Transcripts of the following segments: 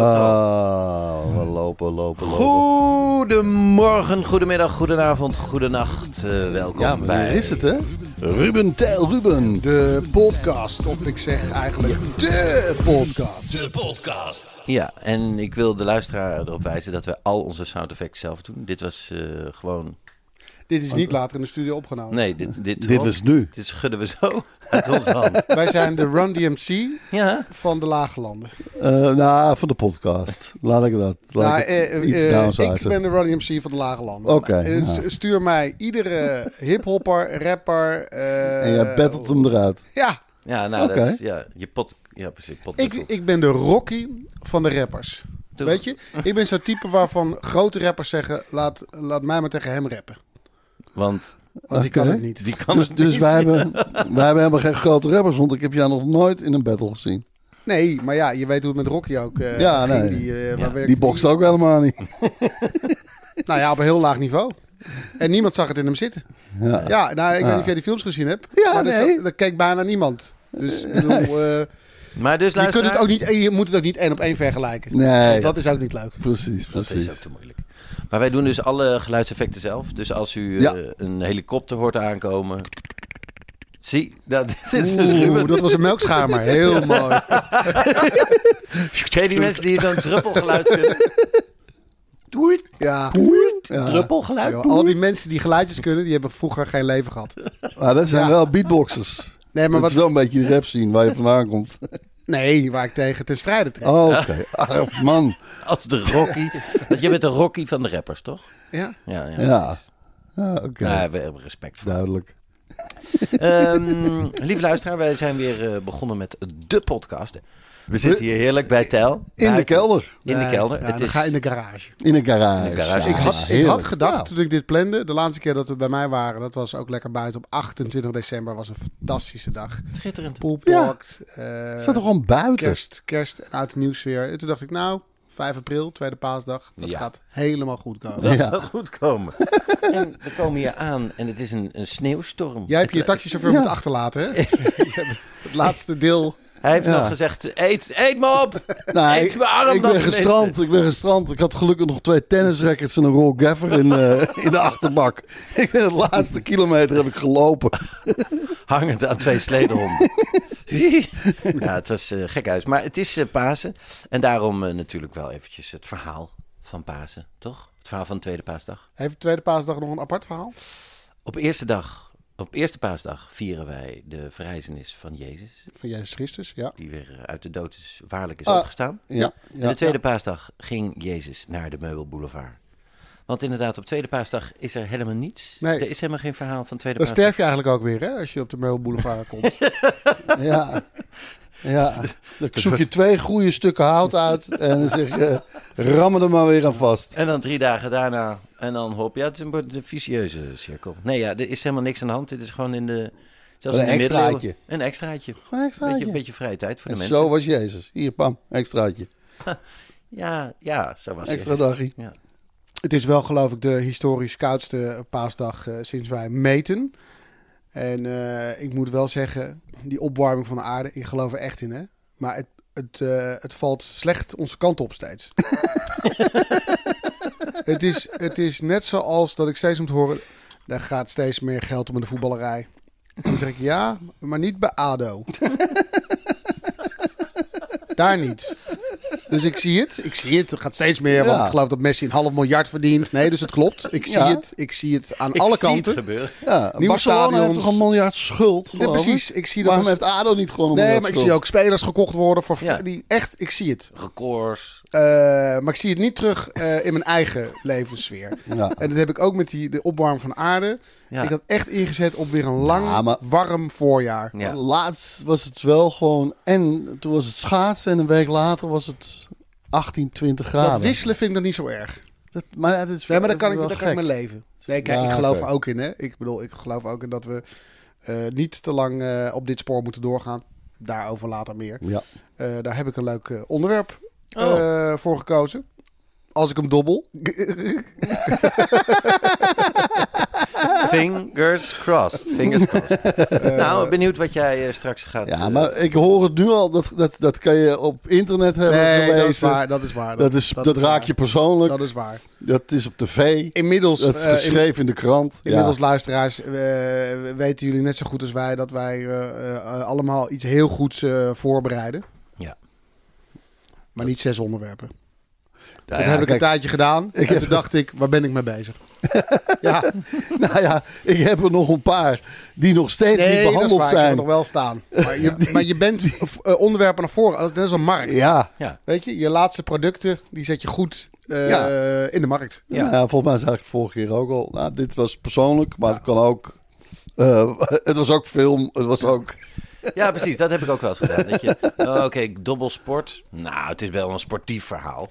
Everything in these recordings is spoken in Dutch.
Oh, we lopen, lopen, lopen. Goedemorgen, goedemiddag, goedenavond, goedenacht. Eh welkom ja, maar bij... hier is het, hè? Ruben Tel Ruben. De podcast, of ik zeg eigenlijk de podcast. Ja, en ik wil de luisteraar erop wijzen dat we al onze sound effects zelf doen. Dit was eh, gewoon... Dit is niet later in de studio opgenomen. Nee, dit... Dit, Dit was nu. Dit schudden we zo uit onze hand. Wij zijn de Run DMC Ja, van de Lage Landen. Eh, nou, van de podcast. Laat ik dat. Laat Nou, ik het eh, eh, iets eh, downsizen. ik ben de Run DMC van de Lage Landen. Oké, Eh, ja. s- Stuur mij iedere hiphopper, rapper. eh, En jij bettelt hem eruit. Ja, ja nou, Oké. dat is... Ja, je pot... Ja, precies, pot ik, ik ben de Rocky van de rappers. Toch? Weet je, ik ben zo'n type waarvan grote rappers zeggen: laat, laat mij maar tegen hem rappen. Want Want die kan Oké. het niet. die kan Dus, het dus niet. wij, hebben, wij hebben helemaal geen grote rappers, want ik heb jou nog nooit in een battle gezien. Nee, maar ja, je weet hoe het met Rocky ook eh, Ja, ging. nee. Die, eh, waar Ja, werkte Die bokst ook helemaal niet. Nou ja, op een heel laag niveau. En niemand zag het in hem zitten. Ja. Ja, nou, ik weet niet of jij die films gezien hebt. Ja, maar nee. Dat, dat keek bijna niemand. Dus ik bedoel, eh, Maar dus je, kunt luisteraar... het ook niet, eh, je moet het ook niet één op één vergelijken. Nee. dat is ook niet leuk. Precies, Dat precies. is ook te moeilijk. Maar wij doen dus alle geluidseffecten zelf. Dus als u eh, Ja. een helikopter hoort aankomen. Zie, dat dit is dus Oeh, Ruben. dat was een melkschamer. Heel mooi. Ken je die mensen die zo'n druppelgeluid kunnen? Doei, Ja. Ja. druppelgeluid. Joh, al die mensen die geluidjes kunnen, die hebben vroeger geen leven gehad. Maar dat zijn Ja. wel beatboxers. Nee, maar dat is wat, wel een beetje die rap zien waar je vandaan komt. nee waar ik tegen ten strijde trek. Oh, oké. Arm man. Als de Rocky. Want je bent de Rocky van de rappers, toch? Ja. Ja, ja. Ja. Ja, oké. Nou, we hebben respect voor. Duidelijk. Ehm, lieve luisteraar, wij zijn weer eh, begonnen met de podcast. We zitten hier heerlijk bij Tel. In de Buiten. kelder. In de Nee, kelder. ja, Het Eh, nou, dan is... ga je in de garage. In een garage. In een garage. Ja, Ik had, ik Ah, heerlijk. had gedacht toen ik dit plande, de laatste keer dat we bij mij waren, dat was ook lekker buiten op 28 december, was een fantastische dag. Schitterend. Poolpark, Ja, eh Zat er gewoon buiten. kerst, kerst en uit het nieuws weer. En toen dacht ik, nou, 5 april, tweede paasdag, dat Ja. gaat helemaal goed komen. Dat Ja. gaat goed komen. En we komen hier aan en het is een, een sneeuwstorm. Jij hebt je Het- taxichauffeur Ja. moeten achterlaten, hè? het laatste deel. Hij heeft Ja. nog gezegd, eet, eet me op! Nee, Eet me arm Nou, dan ik ben tenminste. gestrand. Ik ben gestrand. Ik had gelukkig nog twee tennisrackets en een roll gaffer in, eh, in de achterbak. Ik ben de laatste kilometer heb ik gelopen. Hangend aan twee sledehonden. ja, het was eh, gek huis. Maar het is eh, Pasen. En daarom eh, natuurlijk wel eventjes het verhaal van Pasen, toch? Het verhaal van de tweede paasdag. Heeft de tweede paasdag nog een apart verhaal? Op eerste dag, op eerste paasdag vieren wij de verrijzenis van Jezus. Van Jezus Christus, ja. Die weer eh, uit de dood is, waarlijk is Ah, opgestaan. Ja, en ja, de tweede paasdag ging Jezus naar de meubelboulevard. Want inderdaad, op tweede paasdag is er helemaal niets. Nee. Er is helemaal geen verhaal van tweede Dan paasdag. sterf je eigenlijk ook weer, hè, als je op de Meulboulevard komt. ja. Ja. Dan zoek je twee goede stukken hout uit en dan zeg je, eh, ram er maar weer aan vast. En dan drie dagen daarna. En dan hop. Ja, het is een, wordt een vicieuze cirkel. Nee, ja, er is helemaal niks aan de hand. Dit is gewoon in de... Zelfs Een in de extraatje. middeleeuwen- Een extraatje. Gewoon een extraatje. Beetje, een beetje vrije tijd voor de En mensen. zo was Jezus. Hier, pam, extraatje. Ja, ja, zo was Extra het. dagje. Ja. Het is wel geloof ik de historisch koudste paasdag eh, sinds wij meten. En eh, ik moet wel zeggen, die opwarming van de aarde, ik geloof er echt in hè. Maar het, het het, eh, het valt slecht onze kant op steeds. het, is, het is net zoals dat ik steeds moet horen... daar gaat steeds meer geld om in de voetballerij. En dan zeg ik ja, maar niet bij ADO. Daar niet. Dus ik zie het, ik zie het. Er gaat steeds meer, want Ja. ik geloof dat Messi een half miljard verdient. Nee, dus het klopt. Ik zie Ja. het, ik zie het aan alle zie het kanten. gebeuren. Ja, Nieuwe Barcelona heeft stadions. toch een miljard schuld? Ja, geloof precies. Ik zie dat Waarom als- heeft ADO niet gewoon een Nee, miljard maar ik schuld? zie ook spelers gekocht worden voor Ja. die echt, ik zie het. Records. Eh, maar ik zie het niet terug eh, in mijn eigen levenssfeer. Ja. En dat heb ik ook met die, de opwarm van aarde. Ja. Ik had echt ingezet op weer een lang, Ja, maar- warm voorjaar. Ja. Laatst was het wel gewoon... En toen was het schaatsen en een week later was het 18, 20 graden. Dat wisselen vind ik dan niet zo erg. Dat- maar ja, dat is Nee, maar dan kan ik, wel dan kan ik gek. mijn leven. Nee, kijk, Ja, ik geloof oké. er ook in. Hè. Ik bedoel, ik geloof ook in dat we eh, niet te lang eh, op dit spoor moeten doorgaan. Daarover later meer. Ja. Eh, daar heb ik een leuk eh, onderwerp Oh. eh, voor gekozen. Als ik hem dobbel. Fingers crossed. Fingers crossed. nou, benieuwd wat jij eh, straks gaat... Eh, ja, eh, maar ik hoor het nu al. Dat, dat, dat kan je op internet hebben Nee, gelezen. dat is waar. Dat is waar. Dat, is, dat, is raakt waar. je persoonlijk. Dat is waar. Dat is op tv. Inmiddels, Dat is eh, in- geschreven in de krant. inmiddels ja. luisteraars, eh, weten jullie net zo goed als wij dat wij eh, eh, allemaal iets heel goeds eh, voorbereiden. Ja. Maar niet zes onderwerpen. dat ja, heb ik kijk. een tijdje gedaan. en heb- toen dacht ik, waar ben ik mee bezig? ja, Nou ja, ik heb er nog een paar die nog steeds nee, niet dat is behandeld waar. Ik heb er zijn. nog wel staan. Maar je, maar je bent eh, onderwerpen naar voren. Dat is een markt. Ja. Ja. Weet je, je laatste producten, die zet je goed eh, Ja. in de markt. Ja. volgens mij zei ik het vorige keer ook al. Nou, dit was persoonlijk, maar het kan ook. eh, het was ook film, het was ook. Ja, precies. Dat heb ik ook wel eens gedaan. Dat je, oh, oké, dobbel sport. Nou, het is wel een sportief verhaal.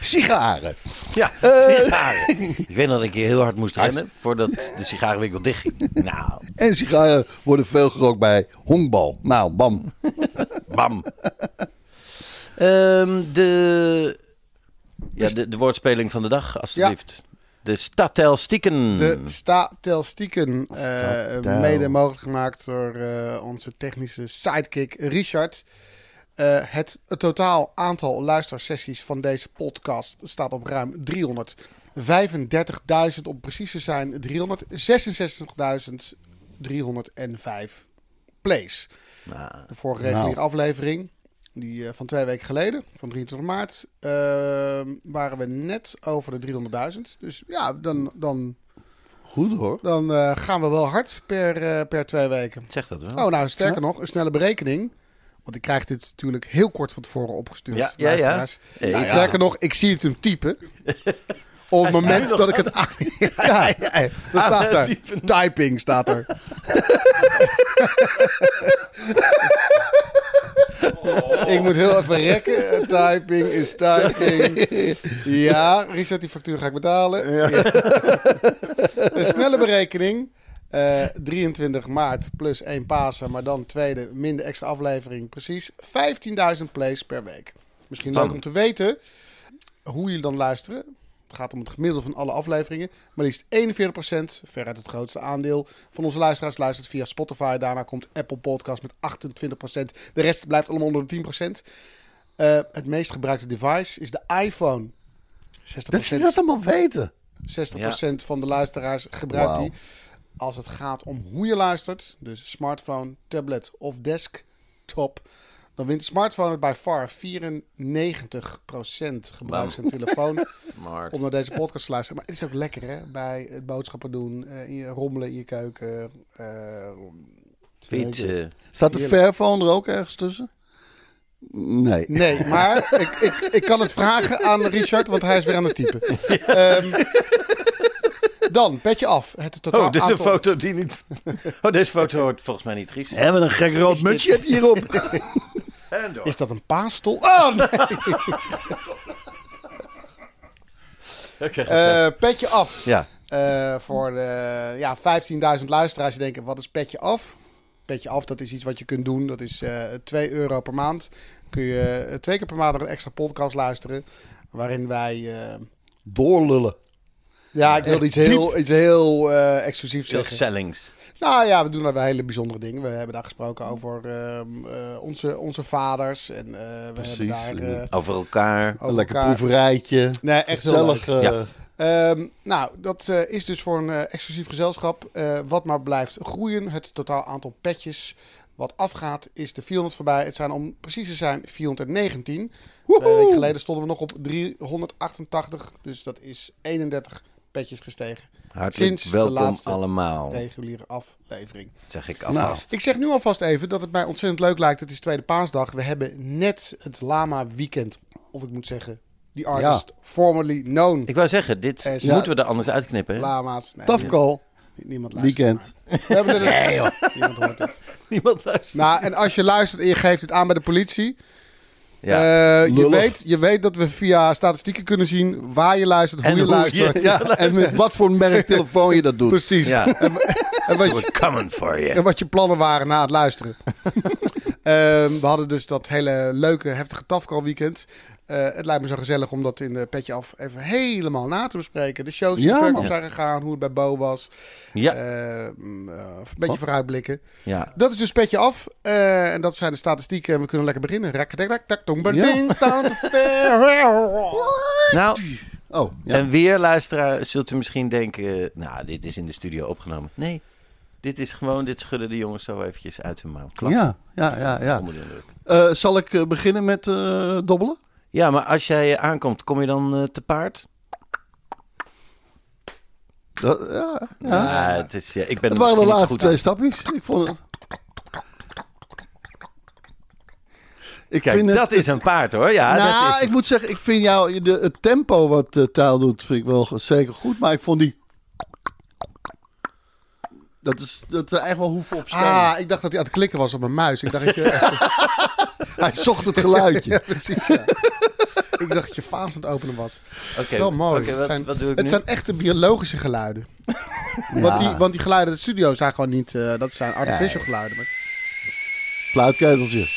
Sigaren. Ja, sigaren. Ik weet nog dat ik heel hard moest rennen voordat de sigarenwinkel dichtging. Nou, En sigaren worden veel gerookt bij honkbal. Nou, bam. bam. Ehm, de, ja, de, de woordspeling van de dag, alstublieft. De statistieken. De statistieken, eh, Statel. mede mogelijk gemaakt door eh, onze technische sidekick Richard. Eh, het, het totaal aantal luistersessies van deze podcast staat op ruim 335.000. Om precies te zijn 366.305 plays. De vorige reguliere aflevering, die eh, van twee weken geleden, van 23 maart, eh, waren we net over de 300.000. Dus ja, dan, dan, Goed hoor. dan eh, gaan we wel hard per, eh, per twee weken. Zeg dat wel. Oh, nou, sterker nog, een snelle berekening. Want ik krijg dit natuurlijk heel kort van tevoren opgestuurd. Ja, ja, ja. luisteraars. Ja, ja. Sterker nog, ik zie het hem typen. Op het moment dat ik het aan... Ja, ja, ja, ja. Dan staat het er. Typing staat er. Ik moet heel even rekken. Typing is typing. Ja, Richard, die factuur ga ik betalen. Een snelle berekening. Eh, 23 maart plus 1 Pasen, maar dan tweede, minder extra aflevering. Precies 15.000 plays per week. Misschien leuk om te weten hoe jullie dan luisteren. Het gaat om het gemiddelde van alle afleveringen. Maar liefst 41%, veruit het grootste aandeel van onze luisteraars, luistert via Spotify. Daarna komt Apple Podcast met 28%. De rest blijft allemaal onder de 10%. Eh, het meest gebruikte device is de iPhone. 60%, Dat ze dat allemaal weten. 60% van de luisteraars gebruikt Wauw. die. Als het gaat om hoe je luistert, dus smartphone, tablet of desktop, dan wint de smartphone het bij far 94% gebruikt zijn telefoon Smart. om naar deze podcast te luisteren. Maar het is ook lekker hè, bij het boodschappen doen, eh, in je rommelen in je keuken. eh, Fietsen. Staat de Fairphone er ook ergens tussen? Nee. Nee, maar ik, ik, ik kan het vragen aan Richard, want hij is weer aan het typen. Ehm, dan, petje af. Het totaal Oh, dit is een aantal- foto die niet... Oh, deze foto hoort volgens mij niet Grieks. Hè, wat een gek rood mutsje heb je hierop. En door. Is dat een paastol? Oh, nee. Oké. Eh, petje af. Ja. Eh, voor de ja, 15.000 luisteraars die denken, wat is petje af? Petje af, dat is iets wat je kunt doen. Dat is eh 2 euro per maand. Kun je eh, twee keer per maand naar een extra podcast luisteren. Waarin wij... eh, Doorlullen. ja, ik wilde iets heel, iets heel eh, exclusiefs Veel zeggen. sellings. Nou ja, we doen daar wel hele bijzondere dingen. We hebben daar gesproken over ehm, eh, onze, onze vaders. En eh, we Precies. hebben daar... eh, Over elkaar. over Een lekker elkaar- proeverijtje. Nee, echt heel Gezellig. leuk. eh, Ja. Ehm, nou, dat eh, is dus voor een eh, exclusief gezelschap. eh, wat maar blijft groeien, het totaal aantal petjes wat afgaat, is de 400 voorbij. Het zijn om precies te zijn 419. Twee weken geleden stonden we nog op 388, dus dat is 31 petjes gestegen. Hartelijk Sinds de welkom laatste Nou. allemaal, Reguliere aflevering. zeg ik alvast. Ik zeg nu alvast even dat het mij ontzettend leuk lijkt. Het is Tweede Paasdag. We hebben net het Lama Weekend, of ik moet zeggen, die artist formerly known. Ik wou zeggen, dit Eh, ja. moeten we er anders uitknippen. hè? Lama's. Nee, Tafkal, nie- niemand luistert. weekend. We hebben er nee, joh. Niemand hoort het. Niemand luistert. Nou, en als je luistert en je geeft het aan bij de politie. ja. eh, je, Lullig. weet, je weet dat we via statistieken kunnen zien waar je luistert, hoe En je hoe je- luistert. Ja, en met wat voor merk telefoon je dat doet. Precies. ja. En, wat je, We're coming for en you. wat je plannen waren na het luisteren. Ehm, we hadden dus dat hele leuke, heftige Tafkal weekend. Eh, het lijkt me zo gezellig om dat in eh, Petje Af even helemaal na te bespreken. De shows die Ja, verder man. zijn gegaan, hoe het bij Bo was. Ja. Ehm, eh, een beetje vooruitblikken. ja. Dat is dus petje af. Eh, en dat zijn de statistieken. En we kunnen lekker beginnen. Rakkedekdekdekdongberding, sound affair. Nou, Oh, ja. en weer luisteraar, zult u misschien denken, nou, dit is in de studio opgenomen. Nee, dit is gewoon, dit schudden de jongens zo eventjes uit hun mouw. Klasse. ja, ja, ja. ja. Onder de indruk. Eh, zal ik eh, beginnen met eh, dobbelen? Ja, maar als jij eh, aankomt, kom je dan eh, te paard? Dat, ja, ja. Ja, Nou, het is, ja, ik ben Het er waren de misschien niet laatste goed twee aan. stapjes. Ik vond het... Ik Kijk, vind dat het... is een paard hoor. Ja, nou, dat is ik moet zeggen, ik vind jou, de, het tempo wat eh Taal doet, vind ik wel zeker goed. Maar ik vond die... Dat is dat er eigenlijk wel hoeven op staan. Ah, ik dacht dat hij aan het klikken was op mijn muis. Ik dacht dat je, Hij zocht het geluidje. precies, ja. ik dacht dat je vaas aan het openen was. Dat is wel mooi. oké, het wat- zijn, wat doe ik het nu? zijn echte biologische geluiden. want, die, want die geluiden uit de studio zijn gewoon niet... eh, dat zijn artificial geluiden. Maar... Fluitketeltje.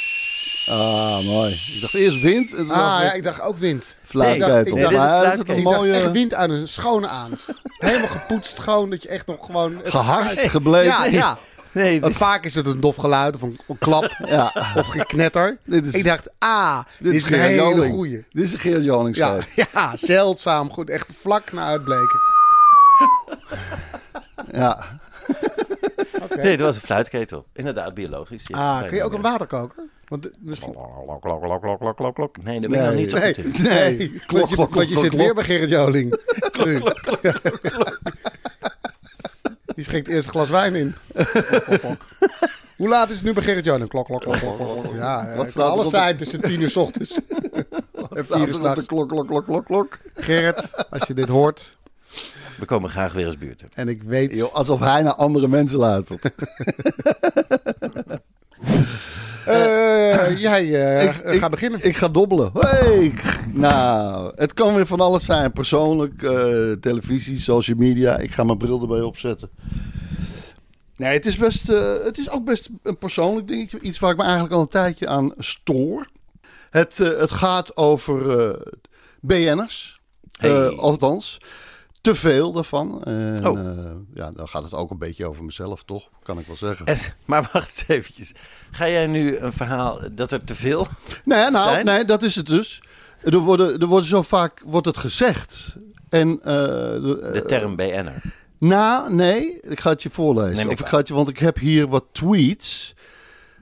Ah, mooi. Ik dacht eerst wind. En toen Ah, dacht ik- ja, ik dacht ook wind. Nee, Fluitketel. nee, dit is maar een het is een fluitketel. Ik dacht echt mooie... wind uit een schone aan. Helemaal gepoetst, schoon. Dat je echt nog gewoon... Geharst, Nee. gebleekt. Ja, ja. Nee, Want dit- vaak is het een dof geluid of een, een klap Ja. of geknetter. Dit is- ik dacht, ah, dit, is een Gerard hele Joling. goeie. Dit is een Gerard Joling Ja, site. ja, zeldzaam. Goed, echt vlak naar uitbleken. Ja. nee, het was een fluitketel. Inderdaad, biologisch. ja. Ah, kun je ook een waterkoker? Want eh, misschien... Nee, daar ben ik nog niet zo goed in. Nee, Klok, want je, klok, want je klok, zit klok. weer bij Gerrit Joling. Nu. Die schenkt eerst een glas wijn in. Klok, klok. Hoe laat is het nu bij Gerrit Joling? Klok, klok, klok, klok, klok. Ja, Wat Wat staat kan er alles op de- zijn tussen tien uur 's ochtends en Staat vier uur er op de 's klok, klok, klok, klok, klok. Gerrit, als je dit hoort, We komen graag weer als buurten. En ik weet... Joh, alsof hij naar andere mensen luistert. Eh, jij eh, ik- gaat beginnen. Ik ga dobbelen. Hey. Nou, het kan weer van alles zijn. Persoonlijk, eh, televisie, social media. Ik ga mijn bril erbij opzetten. Nee, het is, best, eh, het is ook best een persoonlijk dingetje. Iets waar ik me eigenlijk al een tijdje aan stoor. Het, eh, het gaat over eh BN'ers. Eh, Hey. althans, te veel daarvan. En, Oh. eh, ja, dan gaat het ook een beetje over mezelf, toch? Kan ik wel zeggen. En- maar wacht eens eventjes. Ga jij nu een verhaal dat er te veel... Nee, nou, zijn? nee, dat is het dus. Er, worden, er wordt zo vaak wordt het gezegd. En, eh, de- De term BN'er. nou, nee, ik ga het je voorlezen. Nee, maar of ik- ik ga het je, want ik heb hier wat tweets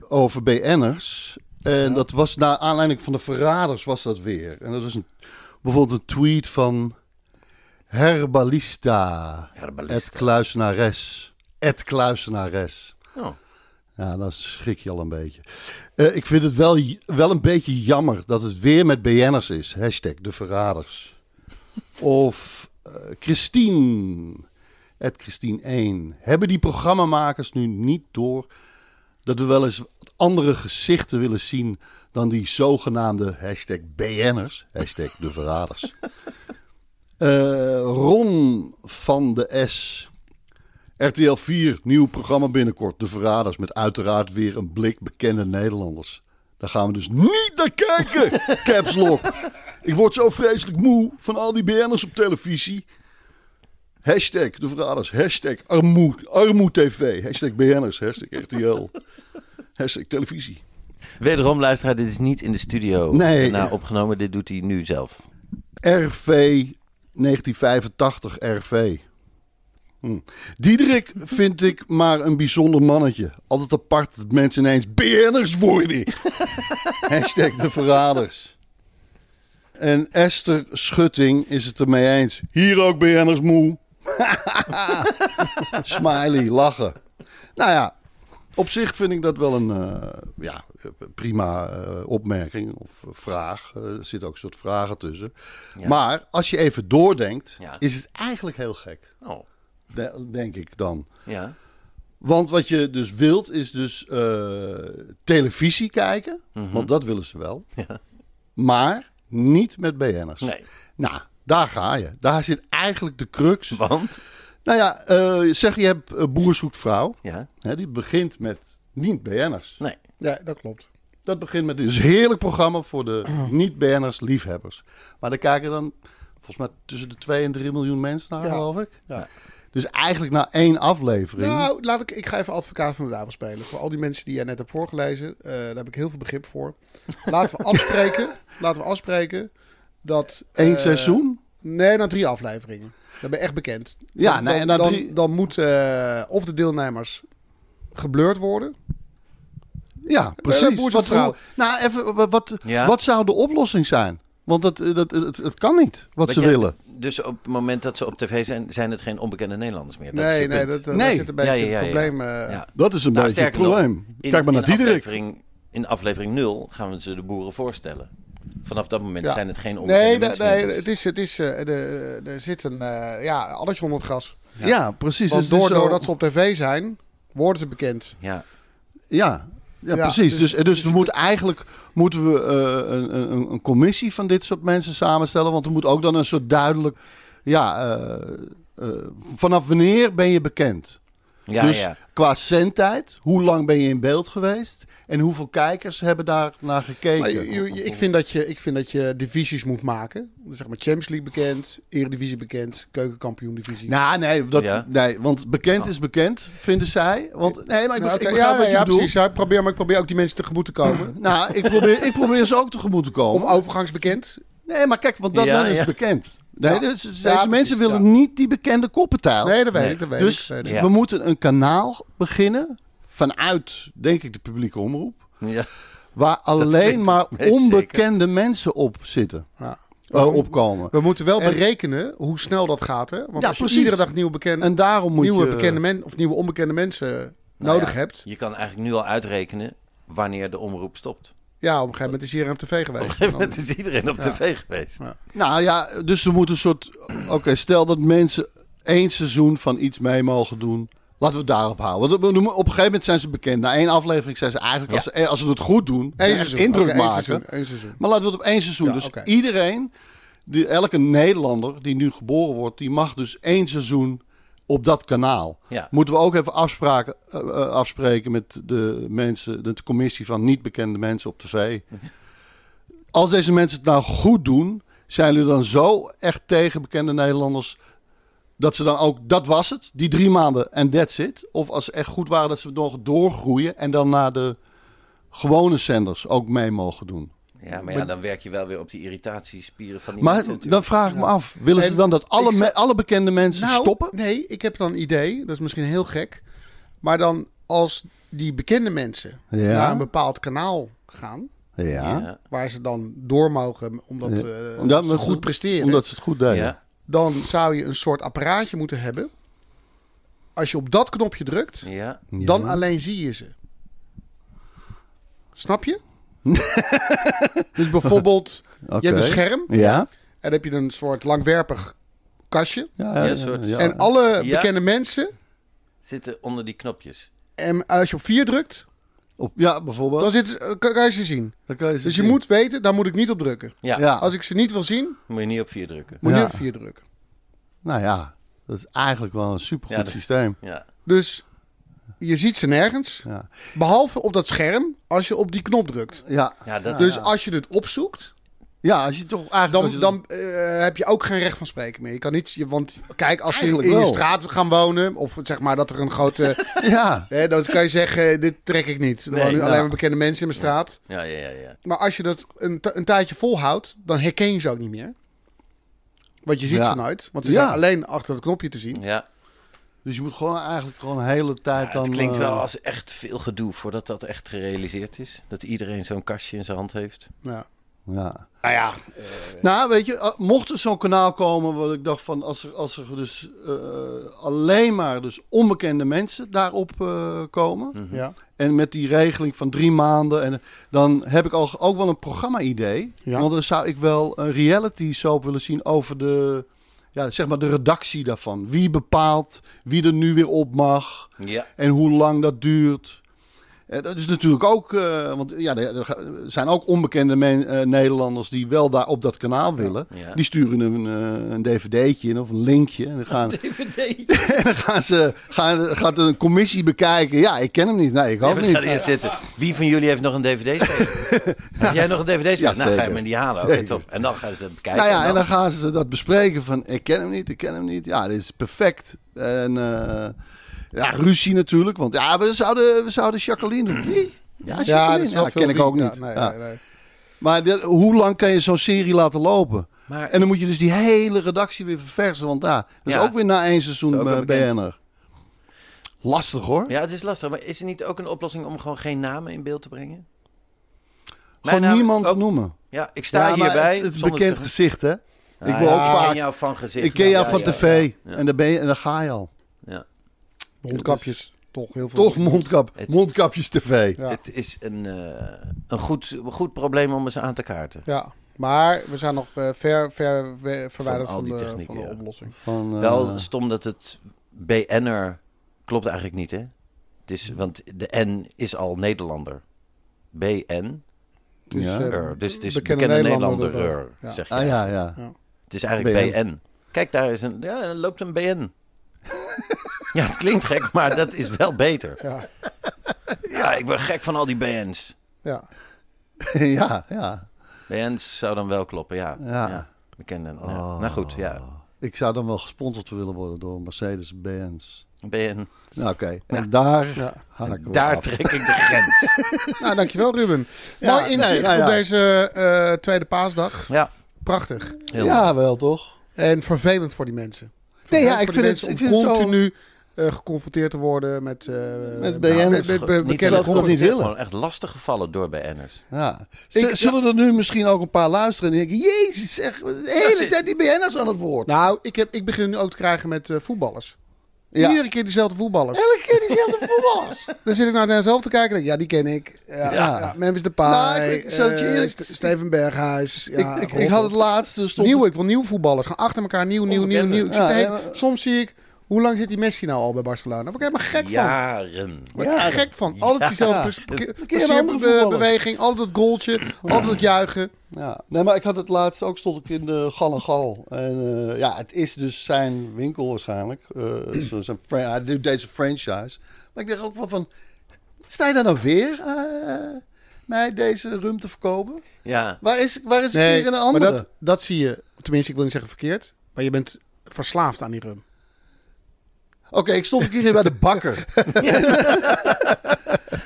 over BN'ers. En dat was naar aanleiding van de verraders was dat weer. En dat was een, bijvoorbeeld een tweet van Herbalista. Herbalista. Het kluisenares. Het kluisenares. Oh. Ja, dan schrik je al een beetje. Eh, ik vind het wel, j- wel een beetje jammer dat het weer met BN'ers is. Hashtag de verraders. Of eh, Christine. Het Christine 1. Hebben die programmamakers nu niet door dat we wel eens wat andere gezichten willen zien dan die zogenaamde hashtag BN'ers? Hashtag de verraders. Eh, Ron van de S. RTL 4, nieuw programma binnenkort. De Verraders met uiteraard weer een blik bekende Nederlanders. Daar gaan we dus niet naar kijken, Caps Lock. Ik word zo vreselijk moe van al die BN'ers op televisie. Hashtag de verraders. Hashtag armoed, armoedtv. Hashtag BN'ers. Hashtag RTL. Hashtag televisie. Wederom, luisteraar, dit is niet in de studio Nee. na opgenomen. Dit doet hij nu zelf. RV 1985 RV. Hm. Diederik vind ik maar een bijzonder mannetje. Altijd apart dat mensen ineens BN'ers worden. Hashtag de verraders. En Esther Schutting is het ermee eens. Hier ook BN'ers moe. Smiley, lachen. Nou ja, op zich vind ik dat wel een eh, ja, prima eh, opmerking of vraag. Eh, er zitten ook een soort vragen tussen. Maar als je even doordenkt, Ja. is het eigenlijk heel gek. Oh, De- denk ik dan. ja. Want wat je dus wilt is dus eh, televisie kijken. Mhm. Want dat willen ze wel. Maar niet met BN'ers. Nee. Nou, daar ga je. Daar zit eigenlijk de crux. Want? Nou ja, eh, zeg je hebt eh, Boer zoekt vrouw. Ja. Hè, die begint met niet BN'ers. Nee. Ja, dat klopt. Dat begint met dus een heerlijk programma voor de niet-BN'ers liefhebbers. Maar daar kijken dan volgens mij tussen de 2 en 3 miljoen mensen naar, Ja. geloof ik. Ja. Dus eigenlijk na één aflevering. Nou, laat ik, ik ga even advocaat van de duivel spelen. Voor al die mensen die jij net hebt voorgelezen, eh, daar heb ik heel veel begrip voor. Laten we afspreken, laten we afspreken dat... één eh, seizoen? Nee, na drie afleveringen. Dat ben je echt bekend. Ja, dan, nee, dan, na dan, drie- dan moet eh, of de deelnemers geblurred worden. Ja, precies. eh, boer zoekt Wat, vrouw. hoe- nou, even, wat, wat, Ja. wat zou de oplossing zijn? Want dat, eh, dat, het, het kan niet, wat ze Want jij- willen. Dus op het moment dat ze op tv zijn, zijn het geen onbekende Nederlanders meer. Dat is nee, het nee, punt. dat, dat Nee. zit een beetje Ja, ja, ja, het ja. probleem. eh, Ja. Dat is een Nou, beetje het sterker nog, probleem. in- Kijk maar in naar Diederik. Aflevering, in aflevering 0 gaan we ze de boeren voorstellen. Vanaf dat moment Ja. zijn het geen onbekende Nee, da- mensen nee, meer, dus- het is, het is, eh, de, er zit een eh ja, addertje onder het gas. Ja, precies. Dus Want Het is door, zo- doordat ze op tv zijn, worden ze bekend. Ja. Ja, ja, Ja, precies. Dus, dus- dus, er moet eigenlijk moeten we eh, een, een, een commissie van dit soort mensen samenstellen. Want er moet ook dan een soort duidelijk. Ja, eh, eh, vanaf wanneer ben je bekend? Ja, dus ja. qua zendtijd, hoe lang ben je in beeld geweest? En hoeveel kijkers hebben daar naar Maar gekeken? je- je- je- ik, vind dat je, ik vind dat je divisies moet maken. Dus zeg maar Champions League bekend, Eredivisie bekend, Keukenkampioen divisie. Nou, nee, dat, Ja. Oh. nee, want bekend is bekend, vinden zij. Want, nee, maar ik, Nou, beg- ik oké, begrijp ja, wat nee, je ja, bedoelt. precies. Ja, ik probeer, maar ik probeer ook die mensen tegemoet te komen. Nou, ik probeer, ik probeer ze ook tegemoet te komen. of overgangsbekend. Nee, maar kijk, want dat Ja, dan is ja. bekend. Nee, Ja. dus, deze Ja, precies, mensen willen ja. niet die bekende koppentaal. Nee, dat weet Nee. ik. Dat weet dus ik, dat weet ik. Ja. we moeten een kanaal beginnen vanuit, denk ik, de publieke omroep. ja. Nou Waar alleen klinkt- maar nee, onbekende mensen op zitten, Ja. eh, opkomen. We moeten wel En- berekenen hoe snel dat gaat. Hè? Want Ja, als je precies. iedere dag nieuwe, bekende, En daarom moet nieuwe, je... bekende men, of nieuwe onbekende mensen Nou nodig ja, hebt. Je kan eigenlijk nu al uitrekenen wanneer de omroep stopt. Ja, op een gegeven moment is hier op Op tv een geweest. gegeven moment is iedereen op tv geweest. Ja. Nou ja, dus er moet een soort... Oké, stel dat mensen één seizoen van iets mee mogen doen. Laten we het daarop houden. Want op- op een gegeven moment zijn ze bekend. Na één aflevering zijn ze eigenlijk, als, ze, als ze het goed doen, Eén echt seizoen. indruk Oké, één maken. seizoen, één seizoen. Maar laten we het op één seizoen. Ja, dus oké. iedereen, die, elke Nederlander die nu geboren wordt, die mag dus één seizoen op dat kanaal. Ja. Moeten we ook even afspraken, eh, eh, afspreken met de mensen, de commissie van niet bekende mensen op tv. Als deze mensen het nou goed doen, zijn jullie dan zo echt tegen bekende Nederlanders dat ze dan ook, dat was het, die drie maanden en that's it. Of als ze echt goed waren, dat ze nog doorgroeien en dan naar de gewone zenders ook mee mogen doen. Ja, maar ja, dan werk je wel weer op die irritatiespieren van die Maar mensen natuurlijk. dan vraag ik me af, willen ze En dan dat alle, ik zou- me- alle bekende mensen Nou, stoppen? Nee, ik heb dan een idee. Dat is misschien heel gek. Maar dan als die bekende mensen Ja. naar een bepaald kanaal gaan. Ja. Ja. Waar ze dan door mogen omdat eh, Omdat ze goed presteren. Omdat ze het goed deden. Ja. Dan zou je een soort apparaatje moeten hebben. Als je op dat knopje drukt, Ja. dan alleen zie je ze. Snap je? dus bijvoorbeeld, Oké. je hebt een scherm. Ja. En dan heb je een soort langwerpig kastje. Ja, Ja, een soort- En alle Ja. bekende mensen. Zitten onder die knopjes. En als je op 4 drukt, Op, ja, bijvoorbeeld. dan zit, kan, kan je ze zien. Dan kan je ze Dus je zien. moet weten, daar moet ik niet op drukken. Ja, Ja. Als ik ze niet wil zien, moet je niet op vier drukken. moet Ja. je op 4 drukken. Nou ja, dat is eigenlijk wel een supergoed Ja, dat- systeem. Ja. Dus je ziet ze nergens. Ja. Behalve op dat scherm als je op die knop drukt. Ja. Ja, dat, dus als je dit opzoekt, Ja, als je toch eigenlijk... als Dan, je- dan eh, heb je ook geen recht van spreken meer. Je kan niet, je- want kijk, als ze in Eigenlijk je wel. straat gaan wonen, of zeg maar dat er een grote. Ja. hè, dan kan je zeggen: eh, dit trek ik niet. Er wonen nou. alleen maar bekende mensen in mijn straat. Ja, ja, ja. ja. Maar als je dat een, t- een tijdje volhoudt, dan herken je ze ook niet meer. Want je ziet Ja. ze nooit. Want ze Ja. zijn alleen achter het knopje te zien. ja. Dus je moet gewoon eigenlijk gewoon de hele tijd Ja, dan... het klinkt eh, wel als echt veel gedoe voordat dat echt gerealiseerd is. Dat iedereen zo'n kastje in zijn hand heeft. Ja. Ja. Nou ja, Nou, weet je, eh, mocht er zo'n kanaal komen wat ik dacht van als er, als er dus eh, alleen maar dus onbekende mensen daarop eh, komen. ja. En met die regeling van drie maanden, en, dan heb ik al, ook wel een programma-idee. Ja. Want dan zou ik wel een reality soap willen zien over de, ja, zeg maar de redactie daarvan. Wie bepaalt wie er nu weer op mag Ja. en hoe lang dat duurt. Eh, Dat is natuurlijk ook, eh, want ja, er er ga- er zijn ook onbekende men, eh, Nederlanders die wel daar op dat kanaal willen. Ja. Die sturen een, eh, een dvd'tje in of een linkje. En dan gaan, DVD. en dan gaan ze gaan, gaat een commissie bekijken. Ja, ik ken hem niet. Nee, ik hoop Even niet. gaan eerst zitten. Wie van jullie heeft nog een DVD-speler? heb jij nog een Ja, DVD-speler? nou, ga je zeker. hem in die halen. Oké, Zeker. top. En dan gaan ze dat bekijken. Nou ja, en dan gaan ze dat bespreken van ik ken hem niet, ik ken hem niet. Ja, dit is perfect. En eh, ja, ruzie natuurlijk, want ja, we zouden, we zouden Jacqueline doen. Wie? Ja, ja, dat Jacqueline. is Ja, wel veel ken ik ook wie- niet. Ja, nee, Ja. nee, nee. Maar dit- hoe lang kan je zo'n serie laten lopen? Maar en dan moet je dus die hele redactie weer verversen, want ja, dat is Ja. ook weer na één seizoen Is ook wel eh, bekend. BN'er. Lastig hoor. Ja, het is lastig. Maar is er niet ook een oplossing om gewoon geen namen in beeld te brengen? Mijn Gewoon naam- niemand ook- noemen. Ja, ik sta Ja, maar hierbij. Het, het is zonder bekend te- gezicht, hè? Ah, ik wil ja, ook Ik vaak. ken jou van gezicht. Ik ken jou Ja, van ja, tv ja, ja. En, daar ben je, en daar ga je al. Ja. Mondkapjes, toch heel veel. Toch mondkap, mondkapjes tv. Ja. Het is een, eh, een goed, goed probleem om eens aan te kaarten. Ja, maar we zijn nog eh, ver, ver we- verwijderd al van, die de, technieken, van de ja. oplossing. Van, eh, Wel stom dat het BN'er klopt eigenlijk niet, hè? Het is, want de N is al Nederlander. BN. Dus, Ja. eh, Er, dus het is bekende bekende Nederlander Nederlander, dan. Ja. zeg je. ah ja, ja. Het is eigenlijk BN. BN. Kijk, daar is een, ja, er loopt een BN. ja, het klinkt gek, maar dat is wel beter. ja, Ja, ik ben gek van al die BN's. ja. ja, ja. BN's zou dan wel kloppen, ja. Ja. Oh. ja. Bekende, ja. Nou goed, ja. Ik zou dan wel gesponsord willen worden door Mercedes-Benz. BN. Nou, oké. En daar Ja. haken we Daar af. trek ik de grens. Nou, dankjewel Ruben. Ja, Mooi inzicht nee, nou op ja. deze eh, tweede paasdag. ja, Prachtig. heel Ja, wel toch? En vervelend voor die mensen. Nee, Vervelend ja, ik voor die vind het, mensen ik om vind het zo... continu eh, geconfronteerd te worden met... eh, Met BN'ers. Niet met- met- met- met- dat met- ze dat niet willen. Gewoon echt lastig gevallen door BN'ers. Ja. Z- zullen er nu misschien ook een paar luisteren en denken... Jezus, zeg, de hele zit- tijd die BN'ers aan het woord. Nou, ik, heb, ik begin nu ook te krijgen met eh, voetballers. Ja. Iedere keer diezelfde voetballers. Elke keer diezelfde voetballers. Dan zit ik nou naar mezelf te kijken. en denk ik, Ja, die ken ik. Ja, ja. Memphis Depay. Nou, ik- ik- zal het je eh, eerlijk- Ste- Steven Berghuis. Ja, ik, ik, ik Rob- had het laatst, dus stond nieuw, ik wil nieuw voetballers. Gaan achter elkaar nieuw, nieuw, nieuw, nieuw. Ik zit Ja, de hele- ja, maar- Soms zie ik, hoe lang zit die Messi nou al bij Barcelona? Daar word ik helemaal gek van. Jaren. Word ik gek van. Altijd diezelfde ja. keer een andere voetballer. beweging, altijd dat goaltje, altijd dat juichen. Ja, nee, maar ik had het laatst ook, stond ik in de Gal en Gal. En eh, ja, het is dus zijn winkel waarschijnlijk. Eh, zo- zijn fra- hij doet deze franchise. Maar ik dacht ook wel van, sta je daar nou weer eh, mij deze rum te verkopen? Ja. Waar is, waar is een keer een maar andere? dat, dat zie je, tenminste ik wil niet zeggen verkeerd, maar je bent verslaafd aan die rum. Oké, ik stond een keer hier bij de bakker.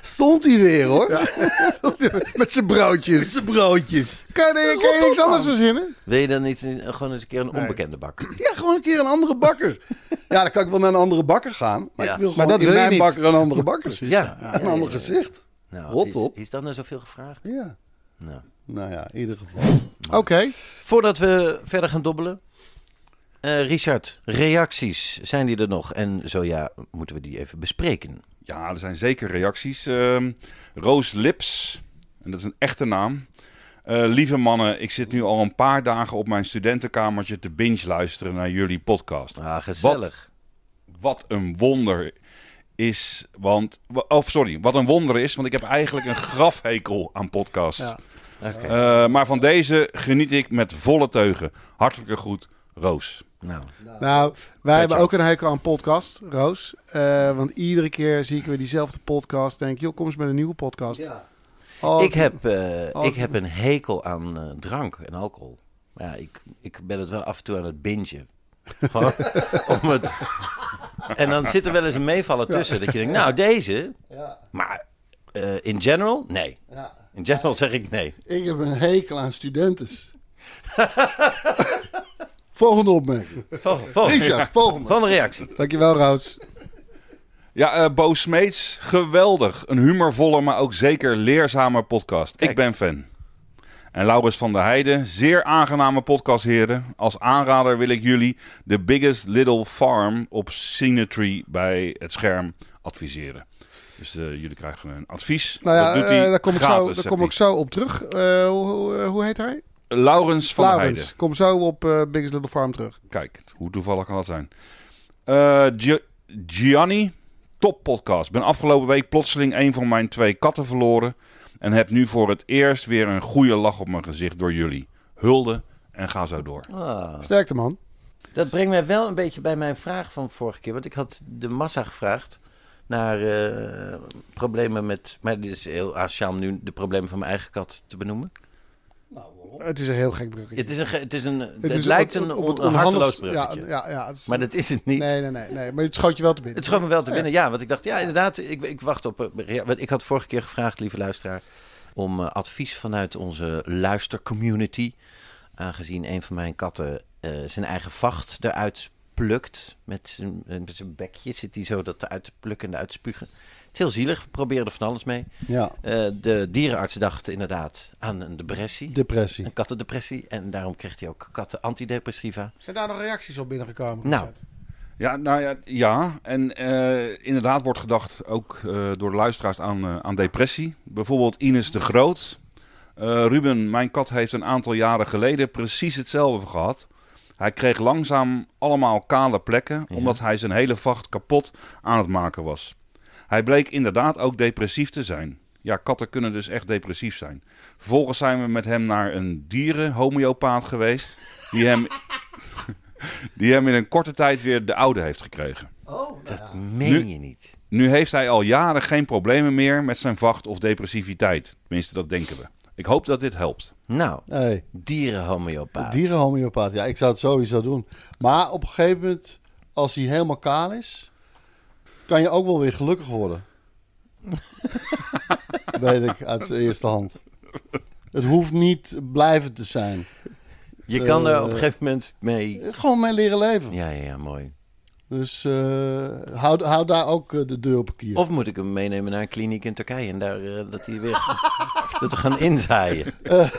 stond hij weer hoor. Met zijn broodjes. Met zijn broodjes. Kan je, kan je Rot op, niks anders man. verzinnen? Wil je dan niet een- gewoon eens een keer een onbekende bak? Ja, gewoon een keer een andere bakker. Ja, dan kan ik wel naar een andere bakker gaan. Maar Ja. ik wil Maar gewoon dat in wil je mijn niet. bakker een andere bakker. Ja. een ander gezicht. Nou, Rot is, op. Is dat nou zoveel gevraagd? Ja. Nou. Nou ja, in ieder geval. Oké. Voordat we verder gaan dobbelen. eh, Richard, reacties, zijn die er nog? En zo ja, moeten we die even bespreken. Ja, er zijn zeker reacties. Ehm Roos Lips, en dat is een echte naam. Eh, lieve mannen, ik zit nu al een paar dagen op mijn studentenkamertje te binge luisteren naar jullie podcast. Ah, gezellig. Wat een wonder is, want... wa- Of sorry, wat een wonder is, want ik heb eigenlijk een grafhekel aan podcasts. Ja. Oké. Eh, maar van deze geniet ik met volle teugen. Hartelijke groet, Roos. Nou, Nou, wij hebben Jan. ook een hekel aan podcast, Roos. Eh, want iedere keer zie ik weer diezelfde podcast. Denk, joh, kom eens met een nieuwe podcast. Oh, ik, heb, eh, oh, ik heb een hekel aan eh, drank en alcohol. Maar ja, ik, ik ben het wel af en toe aan het bingen. Gewoon om het... En dan zit er wel eens een meevaller tussen. Dat je denkt, nou deze... Maar eh, in general, nee. Ja. In general zeg ik nee. Ik heb een hekel aan studentes. volgende opmerking. Volgende, volgende, Richard, volgende. volgende reactie. Dankjewel, Roods. Ja, eh, Bo Smeets, geweldig. Een humorvolle, maar ook zeker leerzame podcast. Ik ben fan. En Laurens van der Heijden, zeer aangename podcast, heren. Als aanrader wil ik jullie The Biggest Little Farm op Scenery bij het scherm adviseren. Dus eh, jullie krijgen een advies. Nou ja, dat doet hij eh, daar kom, ik zo, gratis, daar zegt kom hij. ik zo op terug. Eh, hoe, hoe- hoe heet hij? Laurens van der Heijden. Laurens. Kom zo op eh, Biggest Little Farm terug. Kijk, hoe toevallig kan dat zijn? Eh, Gi- Gianni, top podcast. Ben afgelopen week plotseling een van mijn twee katten verloren. En heb nu voor het eerst weer een goede lach op mijn gezicht door jullie. Hulde en ga zo door. Ah. Sterkte, man. Dat brengt mij wel een beetje bij mijn vraag van vorige keer. Want ik had de massa gevraagd naar eh, problemen met... Maar dit is heel asociaal om nu de problemen van mijn eigen kat te benoemen. Het is een heel gek bruggetje. Het, is een, ge- het, is een, het, is lijkt op- een, op- on- op het een harteloos onhandigste- bruggetje. Ja, ja, ja, het is- Maar dat is het niet. Nee, nee, nee, nee. Maar het schoot je wel te binnen. Het schoot me wel te binnen, ja. Want ik dacht, ja, inderdaad, ik, ik wacht op... een rea- Want ik had vorige keer gevraagd, lieve luisteraar... om eh, advies vanuit onze luistercommunity. Aangezien een van mijn katten eh, zijn eigen vacht eruit plukt. Met zijn, eh, met zijn bekje zit hij zo dat eruit te plukken en eruit te spugen. Het is heel zielig, we proberen er van alles mee. Ja, Eh, de dierenarts dacht inderdaad aan een depressie. depressie. Een kattendepressie. En daarom kreeg hij ook katten antidepressiva. Zijn daar nog reacties op binnengekomen? Nou, Ja, nou ja, ja. en eh, inderdaad wordt gedacht ook eh, door de luisteraars aan, eh, aan depressie. Bijvoorbeeld Ines de Groot. Eh, Ruben, mijn kat heeft een aantal jaren geleden precies hetzelfde gehad. Hij kreeg langzaam allemaal kale plekken, Ja. omdat hij zijn hele vacht kapot aan het maken was. Hij bleek inderdaad ook depressief te zijn. Ja, katten kunnen dus echt depressief zijn. Vervolgens zijn we met hem naar een dierenhomeopaat geweest, die hem, die hem in een korte tijd weer de oude heeft gekregen. dat meen je niet. Nu heeft hij al jaren geen problemen meer met zijn vacht of depressiviteit. Tenminste, dat denken we. Ik hoop dat dit helpt. Nou, Hey. dierenhomeopaat. Dierenhomeopaat, ja, ik zou het sowieso doen. Maar op een gegeven moment, als hij helemaal kaal is, kan je ook wel weer gelukkig worden. Weet ik uit de eerste hand. Het hoeft niet blijvend te zijn. Je kan er Eh, op een gegeven moment mee. Gewoon mee leren leven. Ja, ja, ja, mooi. Dus eh, hou, hou daar ook eh, de deur op een kier. Of moet ik hem meenemen naar een kliniek in Turkije en daar eh, dat hij weer dat we gaan inzaaien.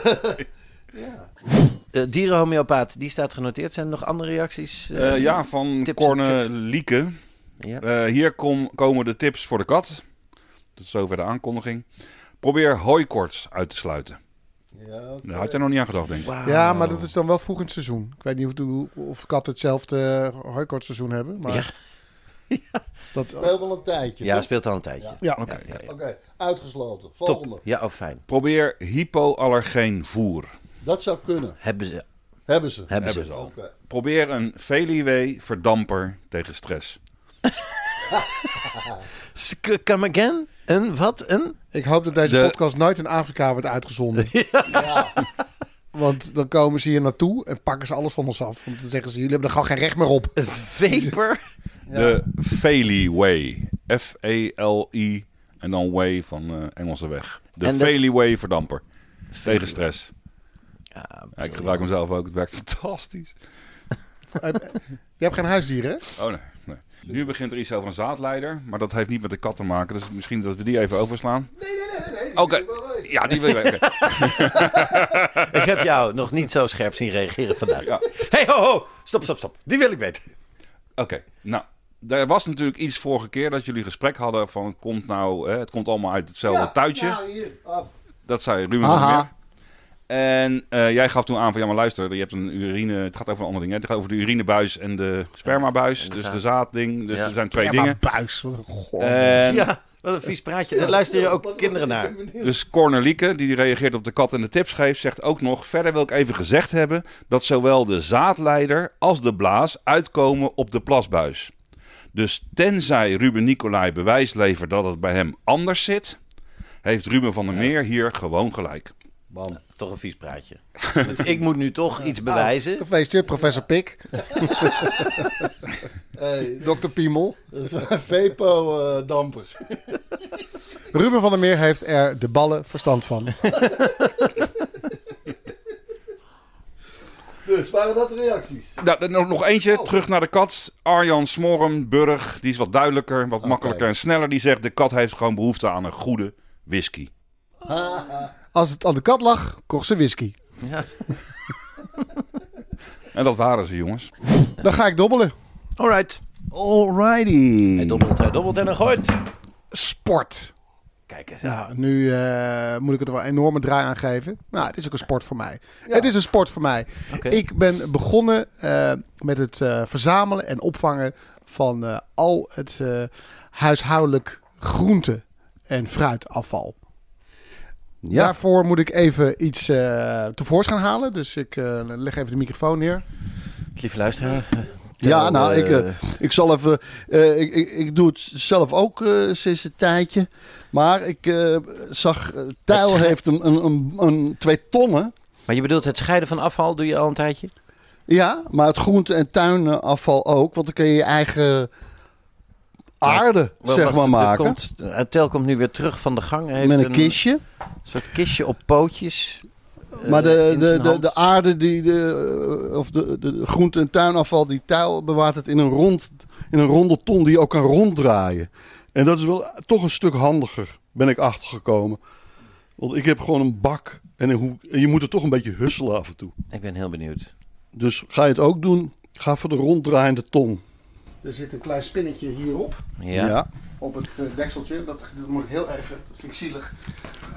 Eh, dierenhomeopaat, die staat genoteerd. Zijn er nog andere reacties? eh? Eh, ja, van tips en Corne tricks. Lieke. Ja. Eh, hier kom- komen de tips voor de kat. Tot zover de aankondiging. Probeer hooikorts uit te sluiten. Ja, Daar had jij nog niet aan gedacht, denk ik. Wauw. Ja, maar dat is dan wel vroeg in het seizoen. Ik weet niet of, of katten hetzelfde hooikortseizoen hebben. Maar Ja. dat, speelt al een tijdje. Ja, toch? speelt al een tijdje. Ja. Oké, ja, ja. Oké, uitgesloten. Volgende. Top. Ja, oh, fijn. Probeer hypoallergeen voer. Dat zou kunnen. Hebben ze, Hebben ze. hebben ze. Hebben ze al. Oké. Probeer een Feliwee verdamper tegen stress. Sk- Come again? Een wat? Een? ik hoop dat deze De- podcast nooit in Afrika wordt uitgezonden. Want dan komen ze hier naartoe en pakken ze alles van ons af. Want dan zeggen ze, jullie hebben er gewoon geen recht meer op. Een vapor? De Feliway. F-E-L-I en dan way van eh, Engelse weg. De En dat- Feliway verdamper. Tegen stress. Ja, Ja, ik gebruik hem zelf ook. Het werkt fantastisch. Je hebt geen huisdieren, hè? Oh nee, nee. Nu begint er iets over een zaadleider, maar dat heeft niet met de kat te maken. Dus misschien dat we die even overslaan. Nee, nee, nee. nee, Oké. Ja, die wil ik wel weten. Ik heb jou nog niet zo scherp zien reageren vandaag. Ja. hey, ho, ho. Stop, stop, stop. Die wil ik weten. Oké, nou. Er was natuurlijk iets vorige keer dat jullie gesprek hadden van het komt nou, hè, het komt allemaal uit hetzelfde tuitje. Nou, hier. Oh. af. Dat zei Ruben Aha. nog meer. En eh, jij gaf toen aan van ja, maar luister, je hebt een urine. Het gaat over een andere ding. Hè? Het gaat over de urinebuis en de spermabuis. En de dus zaad. de zaadding. Dus Ja. er zijn twee ja, dingen. maar Eh. buis. wat een goor. En Ja, wat een vies praatje. Daar luisteren je ook kinderen naar. Dus Cornelieke, die reageert op de kat en de tips geeft, zegt ook nog... Verder wil ik even gezegd hebben dat zowel de zaadleider als de blaas uitkomen op de plasbuis. Dus tenzij Ruben Nicolai bewijs levert dat het bij hem anders zit... heeft Ruben van der Meer hier gewoon gelijk. Bam. Toch een vies praatje. Want ik moet nu toch iets bewijzen. Gefeliciteerd, professor Pik. Hey, Dr. Piemel. dat is mijn eh, Vepo-damper. Ruben van der Meer heeft er de ballen verstand van. dus, waren dat de reacties? Nou, dan nog nog eentje, terug naar de kat. Arjan Smorenburg, die is wat duidelijker, wat makkelijker en sneller. Die zegt, de kat heeft gewoon behoefte aan een goede whisky. Als het aan de kat lag, kocht ze whisky. Ah. En dat waren ze, jongens. Dan ga ik dobbelen. Alright. Alrighty. Mm. Hij dobbelt, hij dobbelt en hij gooit. Sport. Kijk eens. aan. Nou, nu eh, moet ik het er wel een enorme draai aan geven. Nou, het is ook een sport voor mij. Het is een sport voor mij. Oké. Ik ben begonnen eh, met het eh, verzamelen en opvangen van eh, al het eh, huishoudelijk groente- en fruitafval. Ja. Daarvoor moet ik even iets eh, tevoorschijn halen. Dus ik eh, leg even de microfoon neer. Lieve luisteraar. eh, Ja, tel, nou, ik, eh, eh, ik zal even. eh, ik, ik, ik doe het zelf ook eh, sinds een tijdje. Maar ik eh, zag. eh, Tijl schijnt- heeft een, een, een, een twee tonnen. Maar je bedoelt het scheiden van afval doe je al een tijdje? Ja, maar het groente- en tuinafval ook. Want dan kun je je eigen aarde, Wel, zeg wacht, maar, er maken. Komt, eh, Tel komt nu weer terug van de gang. Hij Heeft Met een kistje. soort kistje op pootjes. eh, Maar de, in de, zijn de, hand. de aarde die de, eh, of de, de groente- en tuinafval die touw bewaart het in een, rond, in een ronde ton die je ook kan ronddraaien. En dat is wel toch een stuk handiger, ben ik achtergekomen. Want ik heb gewoon een bak en, een hoek, en je moet er toch een beetje husselen af en toe. Ik ben heel benieuwd. Dus ga je het ook doen, ga voor de ronddraaiende ton. Er zit een klein spinnetje hierop. Ja. op het eh, dekseltje. Dat, dat moet ik heel even, dat vind ik zielig.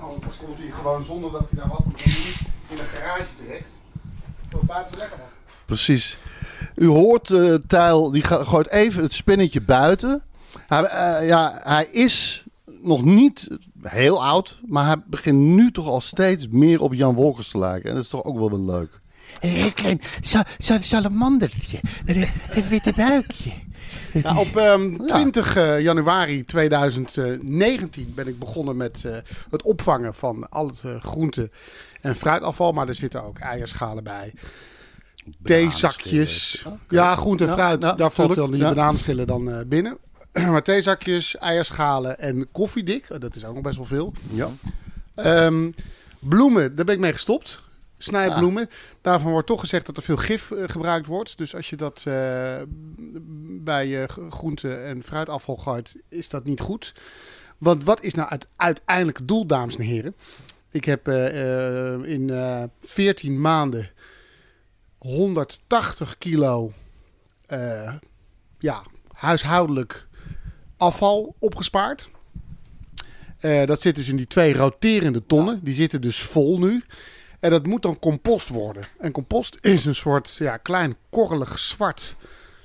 Anders komt hij gewoon zonder dat hij daar wat moet doen in een garage terecht. Voor buiten lekker man. precies. U hoort eh Tijl, die ga- gooit even het spinnetje buiten. Hij, eh, ja, hij is nog niet heel oud, maar hij begint nu toch al steeds meer op Jan Wolkers te lijken. En dat is toch ook wel weer leuk. Een heel klein salamandertje. Het witte buikje. Nou, op ehm, Ja. 20 eh, januari 2019 ben ik begonnen met eh, het opvangen van al het eh, groente- en fruitafval. Maar er zitten ook eierschalen bij. Theezakjes. Ja, groente en Ja, fruit. ja, daar valt dan tuurlijk. die Ja. banaanschillen dan eh, binnen. Maar theezakjes, eierschalen en koffiedik. eh, Dat is ook nog best wel veel. Ja. Ehm, bloemen, daar ben ik mee gestopt. Snijbloemen. Daarvan wordt toch gezegd dat er veel gif eh, gebruikt wordt. Dus als je dat eh, bij je g- groente- en fruitafval gooit, is dat niet goed. Want wat is nou het uiteindelijke doel, dames en heren? Ik heb eh, eh, in eh 14 maanden 180 kilo eh, ja, huishoudelijk afval opgespaard. Eh, dat zit dus in die twee roterende tonnen. Die zitten dus vol nu. En dat moet dan compost worden. En compost is een soort ja, klein korrelig zwart,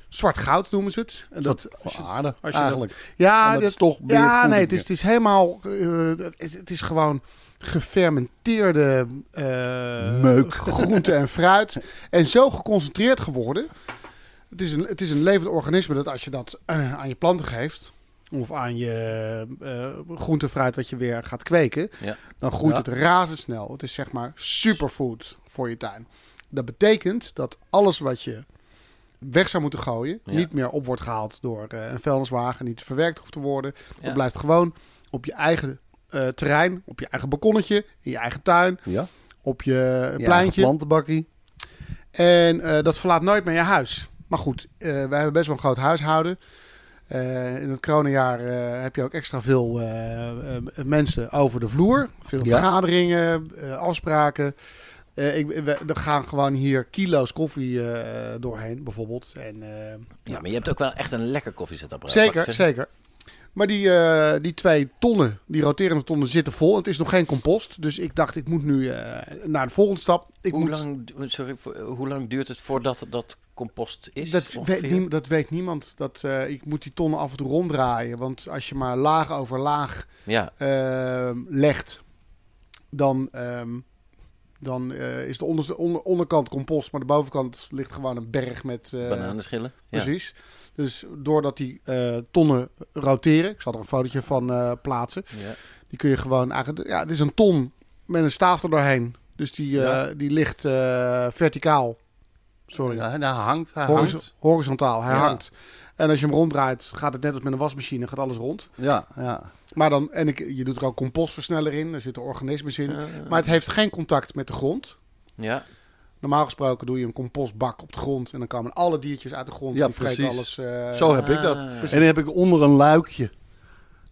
zwart goud noemen ze het. En dat, als je- Aarde, als je eigenlijk. ja, Want dat is toch weer ja voeding, nee, het is, ja. het is helemaal. eh, het, het is gewoon gefermenteerde eh, Meuk. groente en fruit. En zo geconcentreerd geworden. Het is een, het is een levend organisme dat als je dat eh, aan je planten geeft. Of aan je eh groente en fruit wat je weer gaat kweken. Ja. Dan groeit Ja. het razendsnel. Het is zeg maar superfood voor je tuin. Dat betekent dat alles wat je weg zou moeten gooien. Ja. Niet meer op wordt gehaald door eh, een vuilniswagen. Niet verwerkt hoeft te worden. Ja. Dat blijft gewoon op je eigen eh, terrein. Op je eigen balkonnetje. In je eigen tuin. Ja. Op je eh, Een pleintje. plantenbakkie. En eh, dat verlaat nooit meer je huis. Maar goed, eh, wij hebben best wel een groot huishouden. Eh, in het coronajaar eh, heb je ook extra veel eh, eh, mensen over de vloer. Ja. Veel vergaderingen, eh, afspraken. Eh, ik, we, er gaan gewoon hier kilo's koffie eh, doorheen, bijvoorbeeld. En, eh, ja, maar je hebt ook wel echt een lekker koffiezetapparaat. Zeker, Pak het, hè? zeker. Maar die, eh, die twee tonnen, die roterende tonnen, zitten vol. Het is nog geen compost. Dus ik dacht, ik moet nu eh, naar de volgende stap. Ik Hoe moet, lang, sorry, voor- hoe lang duurt het voordat dat compost is? dat, ongeveer? weet, niem- dat weet niemand. Dat, eh, ik moet die tonnen af en toe ronddraaien. Want als je maar laag over laag Ja, ehm, legt, dan, ehm, dan eh, is de onderste- onder- onderkant compost. Maar de bovenkant ligt gewoon een berg met eh, bananenschillen. Ja. Precies. Dus doordat die eh, tonnen roteren, ik zal er een fotootje van eh, plaatsen, Ja. Die kun je gewoon eigenlijk... Ja, het is een ton met een staaf er doorheen. Dus die, eh, die ligt eh, verticaal. Sorry. Ja, en hij hangt. Hij Horizo- hangt. Horizontaal, hij Ja. hangt. En als je hem ronddraait, gaat het net als met een wasmachine, gaat alles rond. Ja, ja. Maar dan, en ik, je doet er ook compostversneller in, er zitten organismen in. Maar het heeft geen contact met de grond. Ja. Normaal gesproken doe je een compostbak op de grond en dan komen alle diertjes uit de grond. Ja, die vreten precies. alles. eh, Zo heb ik dat. En dan heb ik onder een luikje.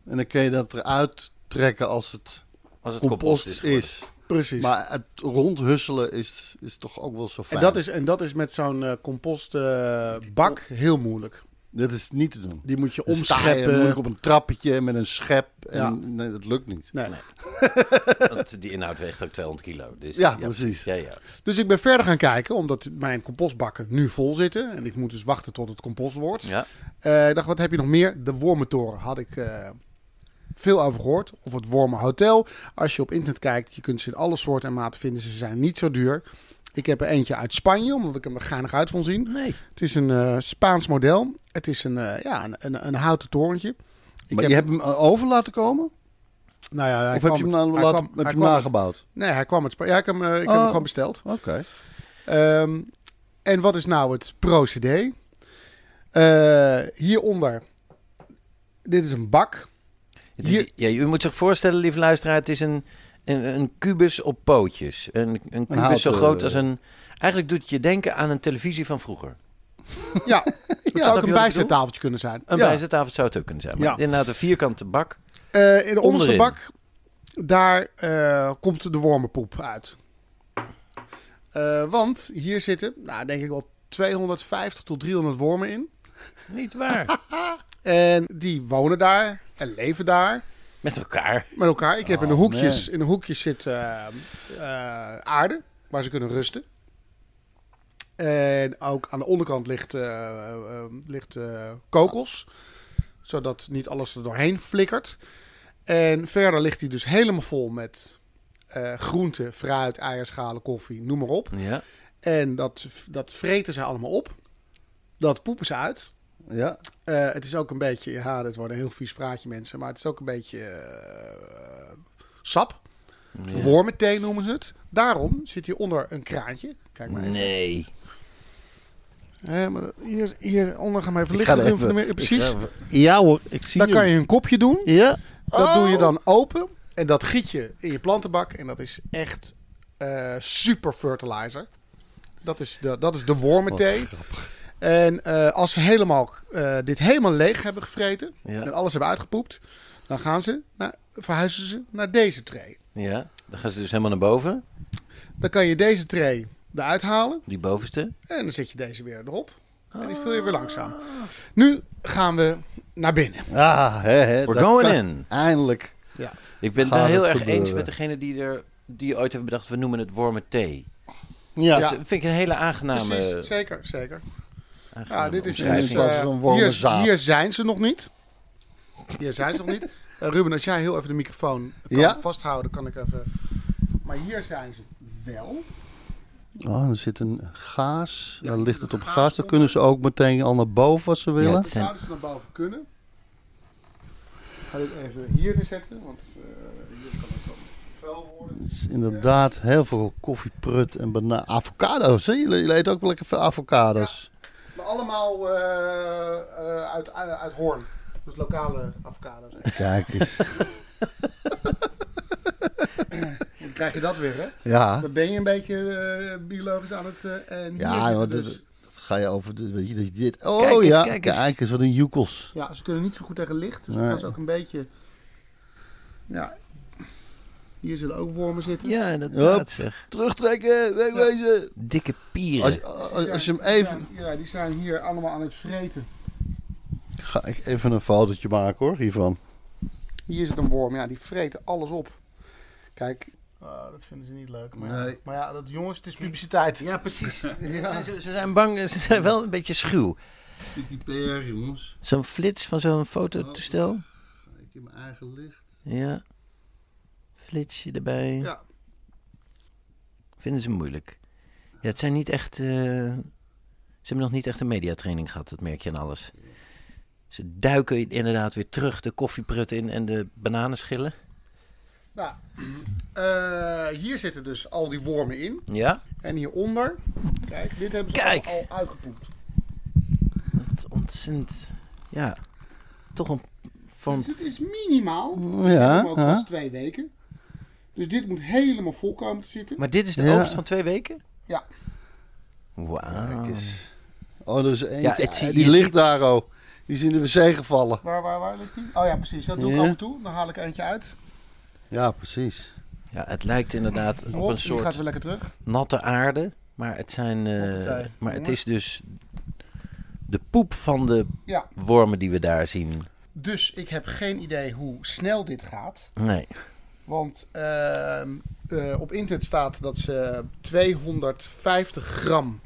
En dan kun je dat eruit trekken als het Als het compost is. geworden. Precies. Maar het rondhusselen is, is toch ook wel zo en, fijn. dat is, en dat is met zo'n eh, compostbak heel moeilijk. dat is niet te doen. Die moet je Dan sta je moeilijk omscheppen. op een trappetje met een schep. En Ja. nee, dat lukt niet. Nee. Want die inhoud weegt ook 200 kilo. Dus, Ja, precies. Ja, ja. Dus ik ben verder gaan kijken, omdat mijn compostbakken nu vol zitten. En ik moet dus wachten tot het compost wordt. ja. Eh, ik dacht, wat heb je nog meer? De Wormentoren had ik eh, veel over gehoord. Of het Wormenhotel. Als je op internet kijkt, je kunt ze in alle soorten en maten vinden. Ze zijn niet zo duur. Ik heb er eentje uit Spanje, omdat ik hem er geinig uit vond zien. Nee. Het is een eh, Spaans model. Het is een, eh, ja, een, een, een houten torentje. Ik maar je hebt hem eh, over laten komen? nou ja, hij of heb kwam je hem, uit- nou hij laten, kwam- heb hij je hem kwam uit- nagebouwd? Nee, hij kwam uit Spanje. Ja, ik heb hem, eh, ik heb Oh. hem gewoon besteld. Oké. Ehm, en wat is nou het procedé? Eh, hieronder. Dit is een bak. Het is- Hier- ja, u moet zich voorstellen, lieve luisteraar, het is een, een, een kubus op pootjes. Een, een kubus zo houten- groot als een... Eigenlijk doet het je denken aan een televisie van vroeger. Ja, het je zou wat ook ik een bijzettafeltje kunnen zijn. Een Ja. bijzettafel zou het ook kunnen zijn. Maar Ja. inderdaad, een vierkante bak. Eh, in de onderste Onderin. bak, daar eh, komt de wormenpoep uit. Eh, want hier zitten, nou denk ik wel 250 tot 300 wormen in. Niet waar. En die wonen daar en leven daar Met elkaar. met elkaar. Ik heb in de Oh, hoekjes, man. in de hoekjes zit eh, eh, aarde, waar ze kunnen rusten. En ook aan de onderkant ligt, eh, eh, ligt eh, kokos, zodat niet alles er doorheen flikkert. En verder ligt hij dus helemaal vol met eh groenten, fruit, eierschalen, koffie, noem maar op. Ja. En dat, dat vreten ze allemaal op. Dat poepen ze uit. Ja. Eh, het is ook een beetje, ja, dit wordt een heel vies praatje mensen, maar het is ook een beetje eh, sap. Wormenthee noemen ze het. Daarom zit hij onder een kraantje. Kijk maar even. Nee. Eh, maar hier, hieronder gaan we even Ik liggen. ga Dat er hoeft niet even- meer- Precies. Ja hoor, ik zie Dan kan je een kopje doen. Ja. Dat doe je dan open. En dat giet je in je plantenbak. En dat is echt eh, super fertilizer. Dat is de, dat is de wormenthee. En eh, als ze helemaal, eh, dit helemaal leeg hebben gevreten. Ja. En alles hebben uitgepoept. Dan gaan ze naar, verhuizen ze naar deze tray. Ja. Dan gaan ze dus helemaal naar boven. Dan kan je deze tray eruit halen. Die bovenste. En dan zet je deze weer erop. En die vul je weer langzaam. Nu gaan we naar binnen. Ah, hè, hè. We're daar going kan- in. Eindelijk. Ja. Ik ben het Gaat wel heel het erg gebeuren. eens met degene die er die ooit hebben bedacht, we noemen het warme thee. Ja. Ja. Dat vind ik een hele aangename, Precies, zeker, zeker. aangename Ja, dit is eh, omschrijving. dus, Omschrijving. eh, Zoals een warme hier, zaad. hier zijn ze nog niet. Hier zijn ze nog niet. Eh, Ruben, als jij heel even de microfoon kan Ja. vasthouden, kan ik even. Maar hier zijn ze wel. Oh, er zit een gaas. Ja, dan ligt het op gaas gaas. Dan kunnen ze ook meteen al naar boven als ze willen. Ja, Dat het zijn- zouden ze naar boven kunnen. Ik ga dit even hier neerzetten, want eh, hier kan het dan vuil worden. Het is inderdaad heel veel koffieprut en bana avocado's. Hè? Jullie, jullie eten ook wel lekker veel avocado's. Maar allemaal eh, eh, uit, uit, uit Hoorn. Dus lokale avocado's. Kijk eens. Dan krijg je dat weer, hè? ja, Dan ben je een beetje eh, biologisch aan het... eh, en hier ja zitten joh, dus... dat, dat ga je over. de- Weet je, dat je dit. Oh Kijk eens, ja, kijk kijk eens. eens. wat een joekels. Ja, ze kunnen niet zo goed tegen licht. Dus dan Nee. gaan ze ook een beetje... Ja. Hier zullen ook wormen zitten. Ja, inderdaad Hup. zeg. Terugtrekken, wegwezen. Dikke pieren. Als, als, als je hem Die even. zijn- ja, die zijn hier allemaal aan het vreten. Ga ik even een fotootje maken hoor, hiervan. Hier zit een worm. Ja, die vreten alles op. Kijk. Ah, dat vinden ze niet leuk. Maar, ja- Nee. maar ja, dat jongens, het is publiciteit. Ja, precies. Ze, ze- ze zijn bang, ze zijn wel een beetje schuw. Stukje PR, jongens. Zo'n flits van zo'n fototoestel. Ik heb mijn eigen licht. Ja. Flitsje erbij. Ja. Vinden ze moeilijk. Ja, het zijn niet echt... eh, Ze hebben nog niet echt een mediatraining gehad, dat merk je aan alles. Ze duiken inderdaad weer terug de koffieprutten in en de bananenschillen. Nou, eh, hier zitten dus al die wormen in. Ja? En hieronder, kijk, dit hebben ze Kijk. Al, al uitgepoept. Dat is ontzettend. Ja. Toch een. Van, Dus dit is minimaal. Ja, ook ja. pas twee weken. Dus dit moet helemaal vol komen te zitten. maar dit is de Ja. oogst van twee weken? Ja. Wauw. Oh, er is eentje. Ja, het zie- die je ligt ziet- daar, oh. Die is in de wc gevallen. Waar, waar, waar ligt die? Oh ja, precies. Dat doe ik Ja. af en toe. Dan haal ik eentje uit. Ja, precies. Ja, het lijkt inderdaad op Hop, een Die gaat soort weer lekker terug. natte aarde. Maar het zijn. eh, Hoppatee, maar het jongen. is dus. De poep van de Ja. wormen die we daar zien. Dus ik heb geen idee hoe snel dit gaat. Nee. Want ehm, eh, op internet staat dat ze 250 gram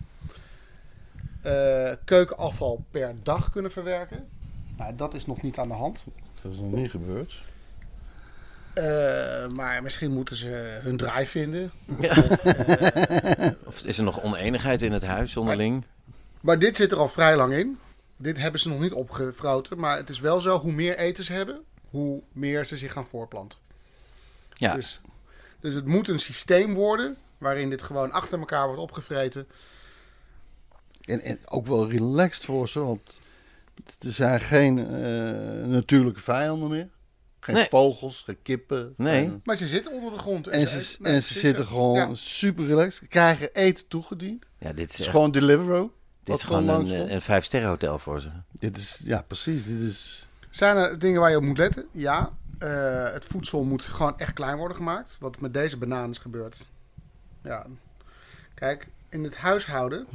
eh, keukenafval per dag kunnen verwerken. Nou, dat is nog niet aan de hand. Dat is nog niet gebeurd. Eh, maar misschien moeten ze hun draai vinden. Of is er nog oneenigheid in het huis onderling? Maar dit zit er al vrij lang in. Dit hebben ze nog niet opgefroten. Maar het is wel zo, hoe meer eten ze hebben, hoe meer ze zich gaan voorplanten. Ja. Dus, dus het moet een systeem worden waarin dit gewoon achter elkaar wordt opgevreten. En, en ook wel relaxed voor ze, want er zijn geen eh, natuurlijke vijanden meer. Geen Nee. vogels, geen kippen. Nee. geen- Maar ze zitten onder de grond. En ze, nou, en ze precies, zitten ja. gewoon Ja. super relaxed. Krijgen eten toegediend. Ja, dit Het is, is echt- gewoon Deliveroo. dit is wat gewoon gewoon langs een, eh, een vijfsterrenhotel voor ze. Dit is, ja precies, dit is... Zijn er dingen waar je op moet letten? Ja, eh, het voedsel moet gewoon echt klein worden gemaakt. Wat met deze banaan is gebeurd. Ja. Kijk, in het huishouden,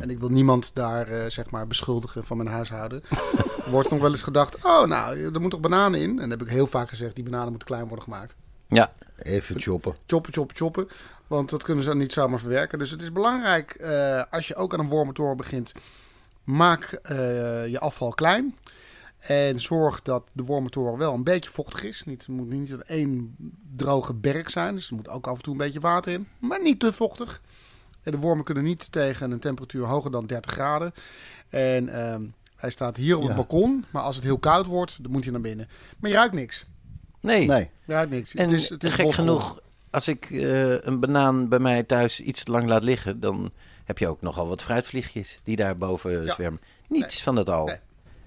en ik wil niemand daar eh, zeg maar beschuldigen van mijn huishouden, wordt nog wel eens gedacht: oh, nou, er moet toch bananen in? En dat heb ik heel vaak gezegd: die bananen moeten klein worden gemaakt. Ja. Even choppen. choppen, choppen, choppen. Want dat kunnen ze niet zomaar verwerken. Dus het is belangrijk eh, als je ook aan een wormentoren begint. Maak eh, je afval klein. En zorg dat de wormentoren wel een beetje vochtig is. Niet, het moet niet één droge berg zijn. Dus er moet ook af en toe een beetje water in. Maar niet te vochtig. En de wormen kunnen niet tegen een temperatuur hoger dan 30 graden. En ehm, hij staat hier op het Ja. balkon. Maar als het heel koud wordt, dan moet je naar binnen. Maar je ruikt niks. Nee. Nee. Je ruikt niks. En gek bosgroen. genoeg, als ik eh, een banaan bij mij thuis iets te lang laat liggen, dan heb je ook nogal wat fruitvliegjes die daar boven Ja. zwermen. Niets van dat al. Nee.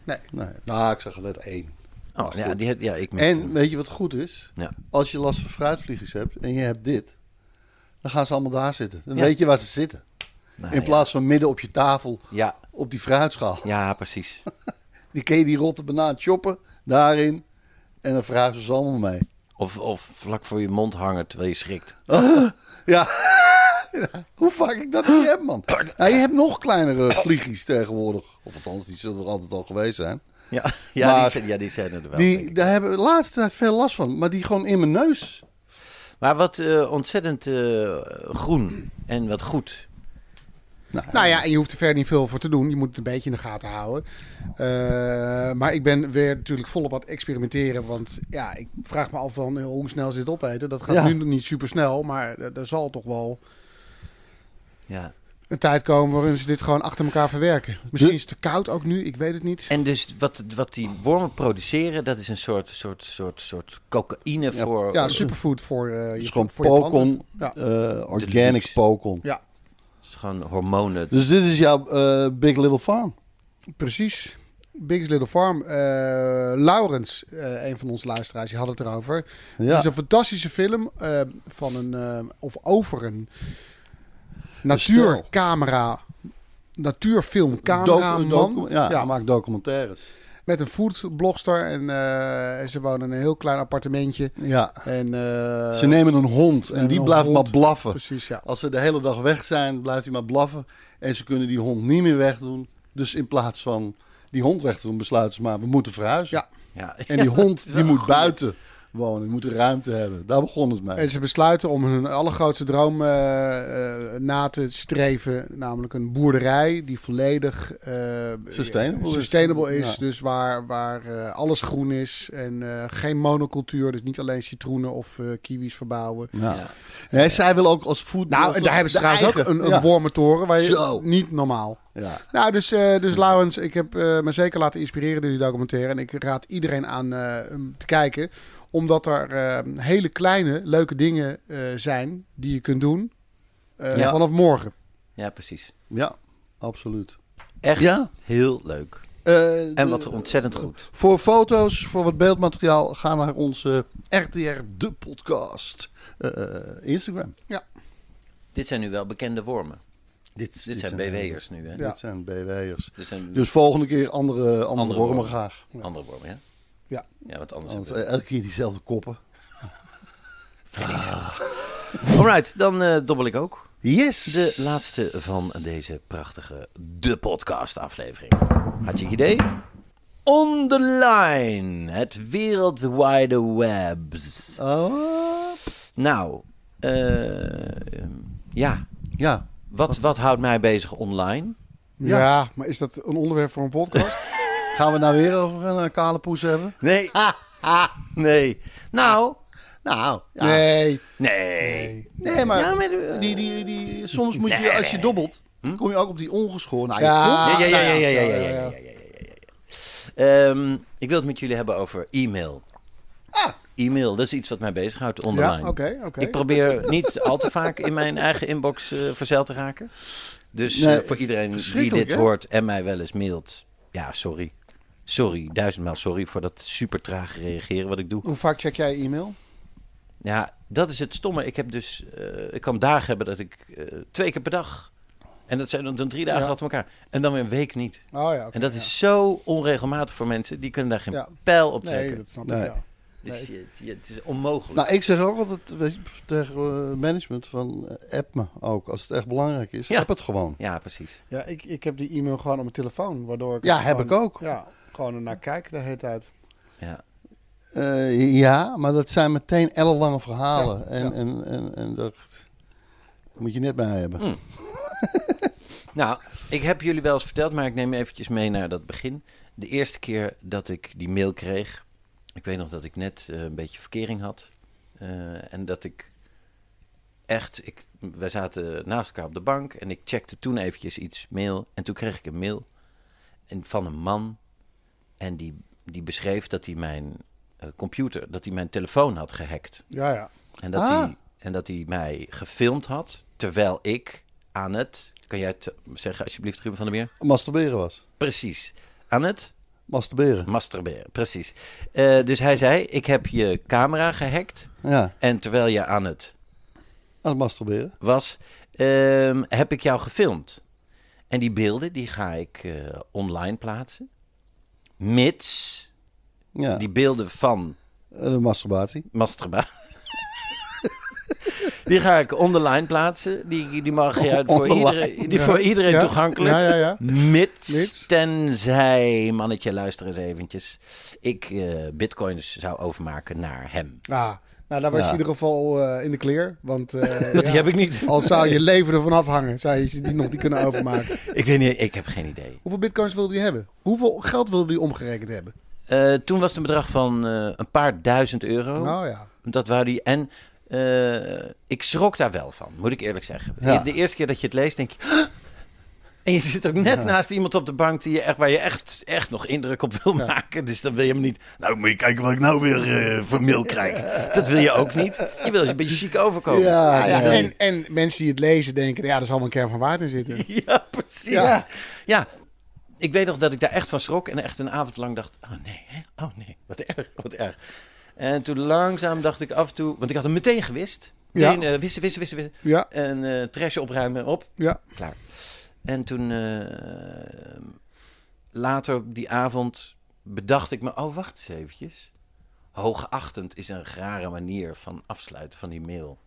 Nee. Nee. Nou, ik zag er net één. Oh, ja, goed. die, heb- ja, ik mis En hem. weet je wat goed is? Ja. Als je last van fruitvliegers hebt en je hebt dit, dan gaan ze allemaal daar zitten. Dan Ja. weet je waar ze zitten. Nou, In ja. plaats van midden op je tafel Ja, op die fruitschaal. ja, precies. Die kun je die rotte banaan choppen daarin en dan vragen ze ze allemaal mee. Of, of vlak voor je mond hangen terwijl je schrikt. Ja. Ja, Hoe vaak ik dat niet heb, man. Nou, je hebt nog kleinere vliegjes tegenwoordig. Of althans, die zullen er altijd al geweest zijn. Ja, ja, die, Maar- zijn, ja die zijn er wel. denk Die, ik. daar hebben we de laatste tijd veel last van. Maar die gewoon in mijn neus. Maar wat eh, ontzettend eh, groen en wat goed. Nou ja, en je hoeft er verder niet veel voor te doen. Je moet het een beetje in de gaten houden. Eh, maar ik ben weer natuurlijk volop aan het experimenteren. Want ja, ik vraag me af van eh, hoe snel ze dit opeten. Dat gaat Ja. nu nog niet super snel. Maar eh, er er zal toch wel Ja. een tijd komen waarin ze dit gewoon achter elkaar verwerken. Misschien is het te koud ook nu. Ik weet het niet. En dus wat, wat die wormen produceren, dat is een soort, soort, soort, soort cocaïne voor... Ja, superfood voor eh Het je is Dus gewoon voor je planten. pokon, Ja. eh, organic Deluxe. pokon. ja, Het is gewoon hormonen. Dus dit is jouw eh, Big Little Farm. precies. Biggest Little Farm. Eh, Laurens, eh, een van onze luisteraars, die had het erover. Ja. Het is een fantastische film eh, van een eh, of over een natuurcamera, natuurfilmcamera Docu- docu- man ja, Ja, hij maakt documentaires. met een foodblogster en eh, en ze wonen in een heel klein appartementje Ja. en eh, Ze nemen een hond en en die een blijft hond. maar blaffen. precies ja. Als ze de hele dag weg zijn, blijft hij maar blaffen. En ze kunnen die hond niet meer wegdoen. Dus in plaats van die hond weg te doen, besluiten ze maar, we moeten verhuizen. Ja. Ja. En die hond, die moet buiten wonen. Die moet een ruimte hebben. Daar begon het mee. En ze besluiten om hun allergrootste droom eh, eh, na te streven. Namelijk een boerderij die volledig eh, Sustainable is. sustainable is. Ja. Dus waar, waar eh, alles groen is en eh, geen monocultuur. Dus niet alleen citroenen of eh, kiwis verbouwen. Ja. Nee, zij wil ook als voet... Nou, en daar hebben ze trouwens ook een, een wormentoren. Waar je, Zo. Niet normaal. Ja. Nou, dus, eh dus Laurens, ik heb eh, me zeker laten inspireren door die documentaire. En ik raad iedereen aan eh, hem te kijken. Omdat er eh, hele kleine, leuke dingen eh, zijn die je kunt doen eh, Ja. vanaf morgen. Ja, precies. Ja, absoluut. Echt Ja. heel leuk. Eh, de- En wat ontzettend goed. Voor foto's, voor wat beeldmateriaal, ga naar onze RTR De Podcast eh, Instagram. Dit zijn nu wel bekende wormen. Dit, Dit zijn BW'ers nu, hè? Ja. Dit zijn BW'ers. Dit zijn Dus volgende keer andere, andere, Andere wormen wormen. graag. andere wormen, hè? Ja. Ja, want anders... Want hebben eh, elke keer diezelfde koppen. we- Alright, dan eh, dobbel ik ook. Yes! De laatste van deze prachtige De Podcast aflevering. Had je het idee? On the line, het wereldwijde webs. Oh. Nou, eh, ja, Ja. wat, wat houdt mij bezig online? Ja. maar is dat een onderwerp voor een podcast? Gaan we nou weer over een eh, kale poes hebben? Nee, nee. Nou, Nou, ja. Nee. nee. Nee, maar, Ja, maar, eh, die, die, die, soms moet je, als je dobbelt, kom je ook op die ongeschoren. Nou, je Ja. Eh, komt- Hm? Ah, Ja, ja, ja, ja, nou ja, ja, ja, ja, ja, ja, ja, ja, ja, ja. Ehm, Ik wil het met jullie hebben over e-mail. E-mail, dat is iets wat mij bezighoudt online. Ah. Ja, oké, oké. Ik probeer niet al te vaak in mijn eigen inbox eh verzeild te raken. Dus eh, Nee, voor iedereen die verschrikkelijk, dit hè? hoort en mij wel eens mailt, ja, sorry. Sorry, duizendmaal sorry voor dat super traag reageren wat ik doe. Hoe vaak check jij je e-mail? Ja, dat is het stomme. Ik, heb dus, eh, ik kan dagen hebben dat ik eh, twee keer per dag. En dat zijn dan- dan drie dagen Ja. achter elkaar. En dan weer een week niet. Oh ja, oké, En dat ja. is zo onregelmatig voor mensen. Die kunnen daar geen Ja. pijl op trekken. Nee, dat snap Nee. ik wel. Dus je- je- het is onmogelijk. Nou, ik zeg ook altijd weet je, tegen eh, management van eh, app me ook. Als het echt belangrijk is, Ja. app het gewoon. ja, precies. Ja, ik, ik heb die e-mail gewoon op mijn telefoon, waardoor ik... Ja, het heb gewoon- ik ook. Ja, gewoon ernaar kijk de hele tijd. Ja. Eh, ja, maar dat zijn meteen ellenlange verhalen. Ja, en, ja. En, en, en dat moet je net bij hebben. Hm. Nou, ik heb jullie wel eens verteld, maar ik neem eventjes mee naar dat begin. De eerste keer dat ik die mail kreeg, ik weet nog dat ik net eh, een beetje verkering had. Eh, en dat ik echt, ik, wij zaten naast elkaar op de bank en ik checkte toen eventjes iets mail. En toen kreeg ik een mail en, van een man en die, die beschreef dat hij mijn eh, computer, dat hij mijn telefoon had gehackt. Ja, ja. En dat, Ah. hij, en dat hij mij gefilmd had terwijl ik aan het. Kan jij het zeggen, alsjeblieft, Ruben van der Meer? Masturberen was. Precies. Aan het Masturberen. masturberen. Precies. Eh, dus hij zei: Ik heb je camera gehackt. Ja, En terwijl je aan het aan het Ah, masturberen. was, ehm, heb ik jou gefilmd. En die beelden die ga ik eh, online plaatsen. Mits Ja, die beelden van eh, de masturbatie. Masturba. die ga ik online plaatsen. Die, die mag je voor Online. iedereen, die voor iedereen Ja. toegankelijk. Ja, ja, ja. Mits, Mits. tenzij, mannetje, luister eens eventjes. Ik eh, bitcoins zou overmaken naar hem. Ah, nou, daar was je in ieder geval eh, in de kleer. Want eh, Dat ja, heb ik niet. al zou je leven ervan afhangen, zou je die nog niet kunnen overmaken. Ik weet niet, ik heb geen idee. Hoeveel bitcoins wilde hij hebben? Hoeveel geld wilde hij omgerekend hebben? Eh, toen was het een bedrag van eh, een paar duizend euro. Nou ja. Dat waren die. En eh, ik schrok daar wel van, moet ik eerlijk zeggen. Ja. De eerste keer dat je het leest, denk je. "Huh?" En je zit ook net naast iemand op de bank die je echt, waar je echt, echt nog indruk op wil maken. Dus dan wil je hem niet. Nou, moet je kijken wat ik nou weer eh, voor mail krijg. Dat wil je ook niet. Je wil een beetje chic overkomen. dus Ja, Ja, dus ja. en, en mensen die het lezen denken, ja, er zal wel een kern van waarheid in zitten. Ja, precies. Ja. Ja. ik weet nog dat ik daar echt van schrok en echt een avond lang dacht: oh nee, hè? oh nee, wat erg, wat erg. En toen langzaam dacht ik af en toe, want ik had hem meteen gewist. Ja. Meteen eh, wissen, wissen, wissen, wissen. Ja. En eh trash opruimen, op, Ja, klaar. En toen eh, later die avond bedacht ik me, oh wacht eens eventjes. Hoogachtend is een rare manier van afsluiten van die mail.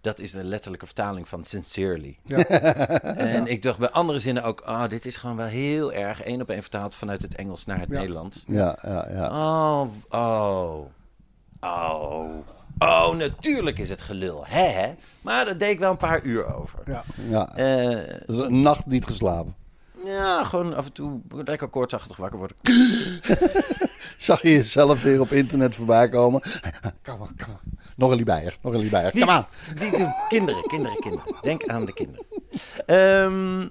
Dat is de letterlijke vertaling van sincerely. En ik dacht bij andere zinnen ook, ah, dit is gewoon wel heel erg één op één vertaald vanuit het Engels naar het Ja. Ah. Nederlands. Ja, ja, ja. Oh, oh, oh, oh, natuurlijk is het gelul, hè, hè? Maar daar deed ik wel een paar uur over. ja. ja. Eh, Dus een nacht niet geslapen. ja, gewoon af en toe lekker koortsachtig wakker worden. Zag je jezelf weer op internet voorbij komen. Kom maar, kom maar. Nog een Liebeijer, nog een Liebeijer. Kom aan. Die doen kinderen, kinderen, kinderen. Denk aan de kinderen. Ehm,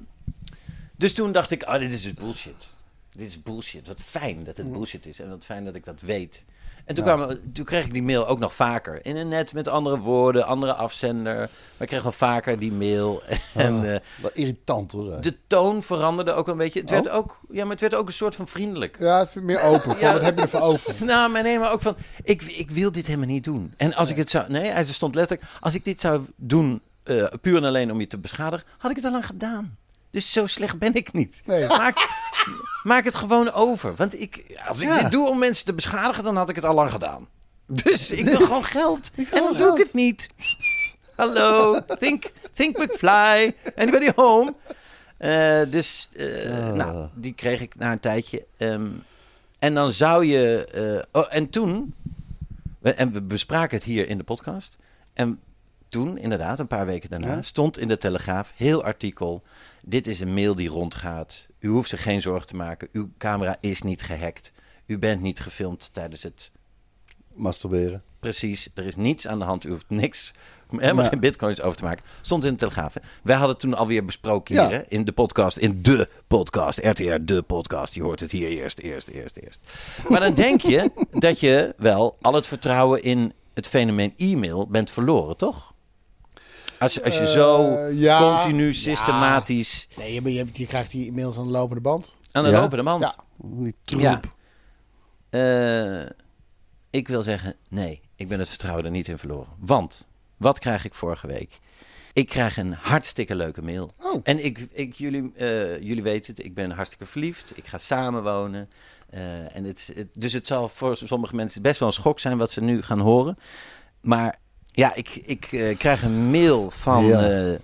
dus toen dacht ik, ah, dit is dus bullshit. dit is bullshit. Wat fijn dat het bullshit is en wat fijn dat ik dat weet. En toen, kwamen, toen kreeg ik die mail ook nog vaker. In een net met andere woorden, andere afzender. Maar ik kreeg wel vaker die mail. En eh, Wat irritant hoor. eh, hè. de toon veranderde ook een beetje. Het werd ook, ja, maar het werd ook een soort van vriendelijk. Ja, het is meer open. Van, Wat hebben we ervoor over? Nou, maar nee, maar ook van, ik, ik wil dit helemaal niet doen. En als ik het zou, nee, hij stond letterlijk, als ik dit zou doen eh, puur en alleen om je te beschadigen, had ik het al lang gedaan. Dus zo slecht ben ik niet. Nee. Maak, maak het gewoon over. Want ik, als ik Ja. dit doe om mensen te beschadigen, dan had ik het al lang gedaan. Dus ik wil gewoon geld. En dan doe ik het niet. Hallo, think, think McFly. Anybody home? Eh, dus, eh, nou, die kreeg ik na een tijdje. Ehm, en dan zou je... eh, oh, en toen... we- en we bespraken het hier in de podcast. En toen, inderdaad, een paar weken daarna... stond in de Telegraaf, heel artikel... Dit is een mail die rondgaat. U hoeft zich geen zorgen te maken. Uw camera is niet gehackt. U bent niet gefilmd tijdens het Masturberen. Precies, er is niets aan de hand. U hoeft niks, helemaal geen bitcoins over te maken. Stond in de Telegraaf. hè? Wij hadden het toen alweer besproken hier Ja. hè? in de podcast, in de podcast, RTR, de podcast. Je hoort het hier eerst, eerst, eerst, eerst. Maar dan denk je dat je wel al het vertrouwen in het fenomeen e-mail bent verloren, toch? Als, als je zo Eh, ja. continu, systematisch Nee, maar je, hebt- je krijgt hier inmiddels een lopende band. aan de Ja. lopende band... Ja. Die troep. Ja. Eh, ik wil zeggen, nee, ik ben het vertrouwen er niet in verloren. Want, wat krijg ik vorige week? Ik krijg een hartstikke leuke mail. Oh. En ik, ik, jullie, eh, jullie weten het, ik ben hartstikke verliefd. Ik ga samenwonen. Eh, en het, het- dus het zal voor sommige mensen best wel een schok zijn wat ze nu gaan horen. Maar ja, ik, ik eh, krijg een mail van Ja. eh,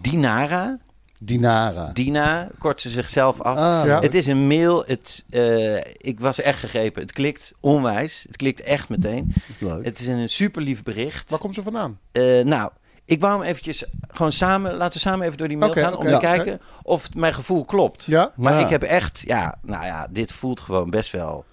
Dinara. Dinara. Dina kort ze zichzelf af. Ah, Ja. Het is een mail. Het, eh, ik was echt gegrepen. Het klikt onwijs. Het klikt echt meteen. leuk. Het is een super lief bericht. Waar komt ze vandaan? Eh, nou, ik wou hem eventjes gewoon samen... Laten we samen even door die mail Oké, gaan... oké, om te ja. kijken of mijn gevoel klopt. Ja. Maar Ja. ik heb echt... Ja, nou ja, dit voelt gewoon best wel...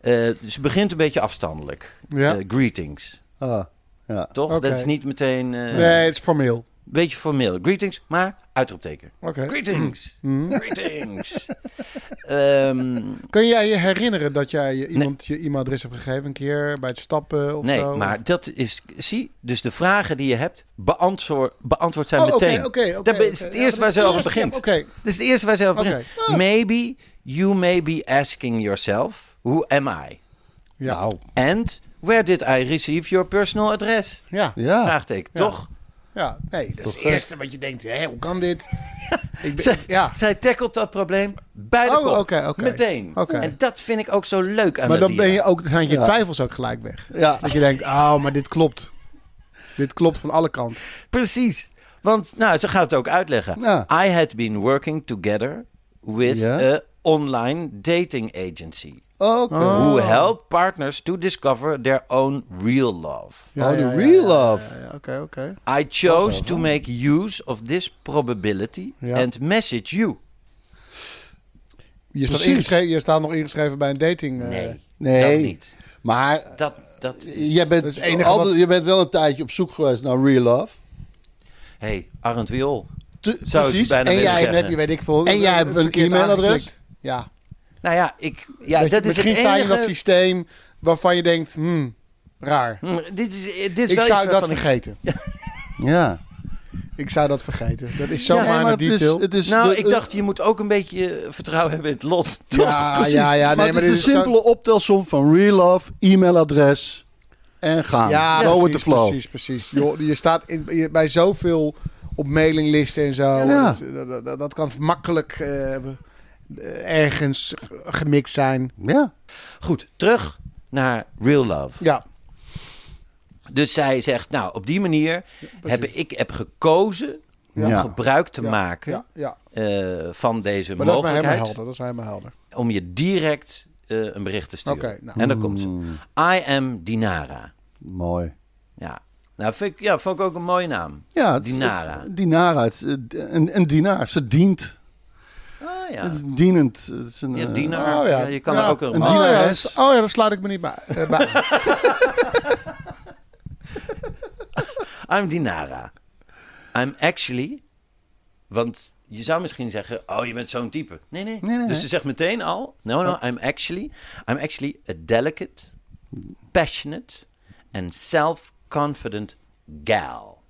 Eh, ze begint een beetje afstandelijk. Ja. Eh, greetings. Ah, ja. Toch? Oké. Dat is niet meteen... eh, Nee, het is formeel. beetje formeel. Greetings, maar uitroepteken. Oké. Greetings. Mm. Greetings. Ehm, Kun jij je herinneren dat jij je iemand je e-mailadres hebt gegeven een keer bij het stappen of nee, zo? maar dat is... Zie, dus de vragen die je hebt, beantwoord, beantwoord zijn Oh, oké, meteen. oké, oké, dat is oké. het eerste Ja, maar waar dat ze is over het eerste, begint. ja, oké. Dat is het eerste waar ze over Oké. Ah. begint. Maybe you may be asking yourself, who am I? Ja. And where did I receive your personal address? Ja. ja. Ja. Oh, Vraagteken, toch? Nee, dat is het eerste wat je denkt. Hé, hoe kan dit? Ik ben- Zij, ja. zij tackelt dat probleem bij de Oh, kop. oké, oké. Meteen. Oké. En dat vind ik ook zo leuk aan Maar dan Nadira. ben je ook, dan zijn je twijfels ook gelijk weg. Ja. Dat je denkt, oh, maar dit klopt. Dit klopt van alle kanten. Precies. Want nou, ze gaat het ook uitleggen. Ja. I had been working together with Ja. a online dating agency. Oké. Who Oh. help partners to discover their own real love. Oh, de real love. Ja, ja, Oké, oké. I chose to make use of this probability Oh. Ja. and message you. Je staat, Precies. ingeschreven, je staat nog ingeschreven bij een dating. eh, Nee, Nee. dat niet. Maar Dat, dat is... je bent, het enige altijd, wat- je bent wel een tijdje op zoek geweest naar real love. hey, Arend Wiool. Te- Zou ik bijna en willen jij En zeggen. heb je, weet ik veel. En jij hebt een verkeerd e-mailadres? aangeklikt. Ja. Nou ja, ik, ja dat, Dat je- is misschien het sta je enige... in dat systeem waarvan je denkt, hmm, raar. Hm, dit is, dit is ik wel zou iets dat waarvan ik- vergeten. Ja. Ik zou dat vergeten. Dat is Ja, zomaar maar een het is- detail. het is Nou, de- ik dacht, je moet ook een beetje eh, vertrouwen hebben in het lot. Toch? ja, Precies. ja, ja. maar Nee, maar, het is dit een is zo- simpele optelsom van real love, e-mailadres en gaan. Ja, Go with precies, the flow. precies, precies. Joh, je staat in, je- bij zoveel op mailinglisten en zo. Ja. Dat, dat- dat, dat kan makkelijk eh, eh, ergens g- gemixt zijn. Ja. Goed, terug naar real love. Ja, Dus zij zegt, nou, op die manier heb ik heb gekozen om Ja. gebruik te Ja, maken ja, ja. eh, van deze Maar dat is maar helemaal mogelijkheid helder. Dat is maar helemaal helder. om je direct eh, een bericht te sturen. Oké, nou. En dan komt ze. I am Dinara. Mooi. Ja, nou, vind ik, ja, vond ik ook een mooie naam. Ja, het is- Dinara. eh, Dinara. Het is, eh, d- een, een dienaar. Ze dient. ah, ja. Het is dienend. Het is een, ja, eh, dienaar. oh, ja. Ja, je kan Ja, er ook een... een Oh ja, dienares. dat- oh ja, dat sluit ik me niet bij. eh, bij. I'm Dinara. I'm actually Want je zou misschien zeggen, oh, je bent zo'n type. Nee, nee. Nee, nee, dus nee. ze zegt meteen al, no, no, Oh. I'm actually, I'm actually a delicate, passionate and self-confident gal.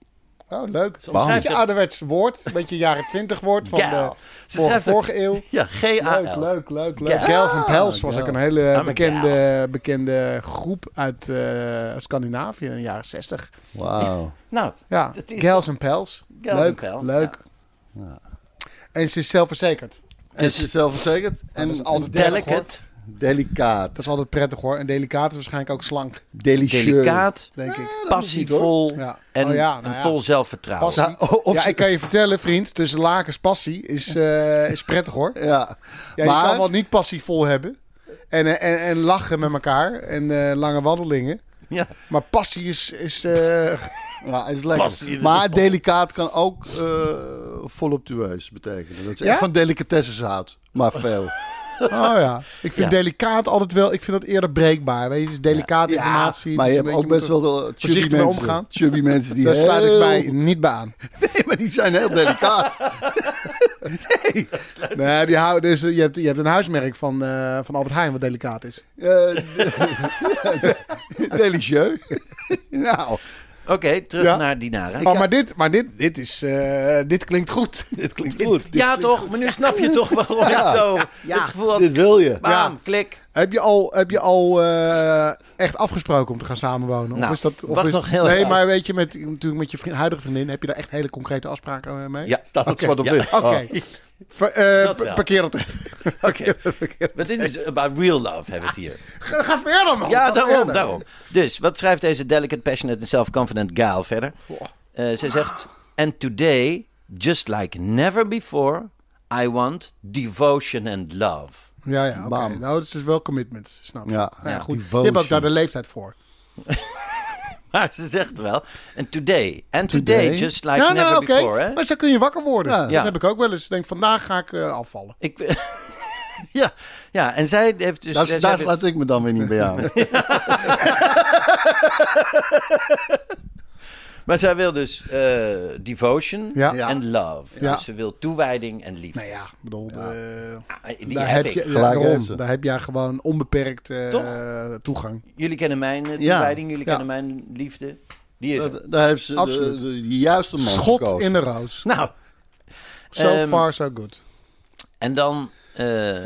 Oh, leuk. Ze Soms een omschrijft beetje het- ouderwets woord. Een beetje jaren twintig woord van de Gal. Ze vorige, schrijft ook- vorige eeuw. Ja, G-A-L. Leuk, leuk, leuk, leuk. Gal. Gals en Pels was Gal. ook een hele a bekende, bekende groep uit eh, Scandinavië in de jaren zestig. Wauw. Nou, Ja, Dat is Gals en Pels. Gals leuk, en Pels, Leuk. En ze is zelfverzekerd. En dus ze is zelfverzekerd. En dat is altijd delicate, delicaat. Dat is altijd prettig hoor. En delicaat is waarschijnlijk ook slank, Delicieus. delicaat, denk ik. passievol Ja. en, Oh ja, nou en ja. vol zelfvertrouwen. Passie. Nou, o- of ja, ze- ik kan je vertellen, vriend. Tussen lakens passie is, eh, is prettig hoor. Ja. Ja, maar je kan wel niet passievol hebben. En, eh, en, en lachen met elkaar. En eh, lange wandelingen. Ja. Maar passie is... is eh, ja, is lekker. Past in de maar pot. delicaat kan ook eh voluptueus betekenen. Dat is Ja? echt van delicatesses houdt. Maar veel. oh ja. Ik vind Ja. delicaat altijd wel... Ik vind dat eerder breekbaar. Weet je, delicate informatie. maar dus je een hebt ook beetje best moet wel de chubby voorzichtig mee mensen. omgaan. Chubby mensen die er- Daar sluit heel- ik bij niet bij aan. Nee, maar die zijn heel delicaat. Nee, die houden, dus, eh, je, hebt, je hebt een huismerk van, eh, van Albert Heijn wat delicaat is. Delicieus. nou, Oké, terug Ja. naar Dinara. Oh, maar dit, maar dit, dit, is, eh, dit klinkt goed. dit klinkt goed. ja, toch? Maar nu snap je toch waarom ik zo het gevoel had. Dit wil je. Bam, Ja. klik. Heb je al, heb je al eh, echt afgesproken om te gaan samenwonen? Nou, of is dat, of wacht is, nog heel Nee, even. maar weet je, met, natuurlijk met je vriend, huidige vriendin heb je daar echt hele concrete afspraken eh, mee? Ja, Staat het zwart op ja. wit. Oké. Oh. Ver- eh, Dat pa- wel. parkeer dat even. Oké. Maar dit is about real love hebben we het hier. Ga ga verder, man. Ja, Ga daarom, verder. daarom. Dus, wat schrijft deze delicate, passionate en self-confident gal verder? Eh, ze zegt... And today, just like never before, I want devotion and love. Ja, ja, oké. Bam. Nou, dat is dus wel commitment, snap je? Ja. Nou ja, Ja, goed. Je devotion. hebt ook daar de leeftijd voor. Maar ze zegt wel... And today, and today, Today. just like ja, never nou, oké. before, hè? Maar zo kun je wakker worden. Dat Ja. heb ik ook wel eens. Ik denk, vandaag ga ik eh, afvallen. Ik, ja, ja, en zij heeft dus... Daar, zij daar zegt- laat ik me dan weer niet bij aan. Maar zij wil dus eh, devotion Ja. en Ja. love. Ja. Dus ze wil toewijding en liefde. Nou ja, ik bedoel, eh, de- Ah, Die daar, heb heb ik. je, ja, Gelijk daarom. heeft ze. daar heb jij gewoon onbeperkt eh, Toch? toegang. Jullie kennen mijn eh, Ja. toewijding, jullie Ja. eh, kennen mijn liefde. Die is er. Daar- Daar heeft ze de, Absoluut. de juiste man Schot gekozen. in de roos. Nou, So Ehm, far, so good. en dan eh,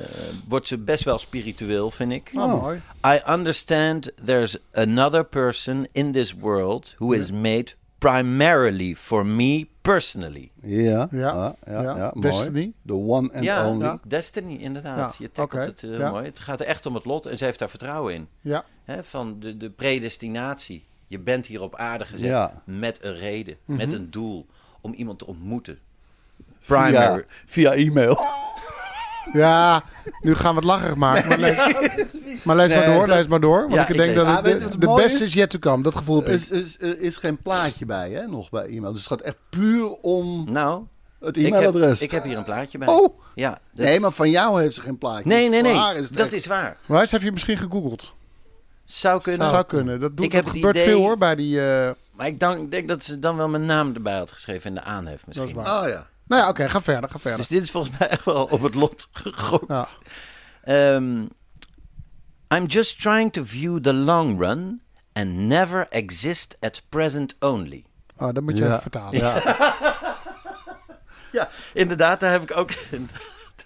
wordt ze best wel spiritueel, vind ik. Oh, mooi. I understand there's another person in this world who is made primarily for me personally. Ja, Ja, ja, ja, ja, ja. mooi. Destiny. The one and ja, only. ja, Destiny, inderdaad. Ja, Je tackelt oké, het eh, ja. mooi. Het gaat er echt om het lot en ze heeft daar vertrouwen in. Ja. Hè, van de, de predestinatie. Je bent hier op aarde gezet Ja. met een reden, Mhm. met een doel, om iemand te ontmoeten. Via, Primary. via e-mail. ja, nu gaan we het lacherig maken. Maar lees, maar, lees maar Nee, door, dat- lees maar door. Want Ja, ik ik denk lees- dat Ah, het weet je de, wat het de mooie beste is? is yet to come. Dat gevoel heb Er is, ik. is, er is geen plaatje bij, hè, nog bij e-mail. Dus het gaat echt puur om Nou, het ik heb, e-mailadres. ik heb hier een plaatje bij. Oh! Ja, dat- Nee, maar van jou heeft ze geen plaatje. nee, nee, Voor nee. haar is het dat echt- is waar. Maar eens heb je misschien gegoogeld. Zou kunnen. Zou kunnen. Dat, doet, Ik heb dat het gebeurt idee- veel hoor bij die... eh, Maar ik dank- denk dat ze dan wel mijn naam erbij had geschreven en de aanhef misschien. Dat is waar. Oh ja. Nou ja, oké. ga verder, ga verder. Dus dit is volgens mij echt wel op het lot gegokt. Ja. Ehm, I'm just trying to view the long run and never exist at present only. Oh, dat moet je Ja. even vertalen. Ja, inderdaad, daar heb ik ook inderdaad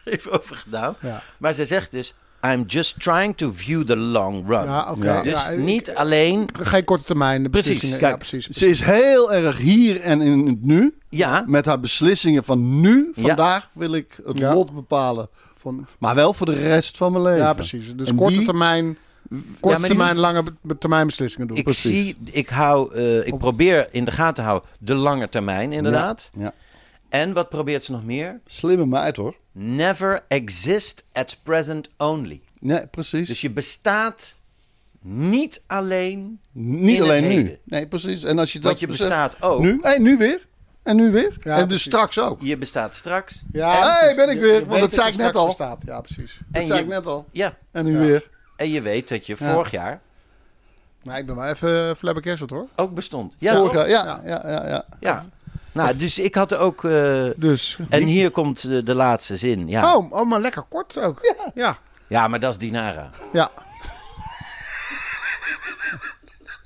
even over gedaan. Ja. Maar zij zegt dus: I'm just trying to view the long run. Ja, oké. Ja. Dus Ja, ik- niet alleen. Geen korte termijn Precies, beslissingen. kijk. Ja, precies. Ze is heel erg hier en in het nu. Ja, Met haar beslissingen van nu, Ja. vandaag wil ik het Ja. lot bepalen. Van, Maar wel voor de rest van mijn leven. ja, precies. Dus En korte die- termijn... maar Korte die- termijn, lange be- termijn beslissingen doen. ik Precies. zie, ik hou, eh, ik probeer in de gaten te houden de lange termijn, inderdaad. Ja. En wat probeert ze nog meer? Slimme meid hoor. Never exist at present only. Nee, precies. Dus je bestaat niet alleen. Niet in het alleen nu. heden. Nee, precies. En als je dat Want je beseft- bestaat ook. Nu, hey, nu weer. En nu weer. Ja, en dus precies. straks ook. Je bestaat straks. Ja, Hey, precies. ben ik Je- weer, je want weet dat zei je ik net straks al. bestaat. Ja, precies. Dat En zei je- ik net al. Ja. En nu weer. En je weet dat je vorig jaar Nou, ik ben wel even flabbergasted hoor. ook bestond. Ja, Vorig toch? jaar. Ja, ja, ja. ja. Ja. Nou, dus ik had ook... eh, Dus. en hier komt eh, de laatste zin. Ja. Oh, oh, maar lekker kort ook. Ja. Ja. ja, maar dat is Dinara. Ja.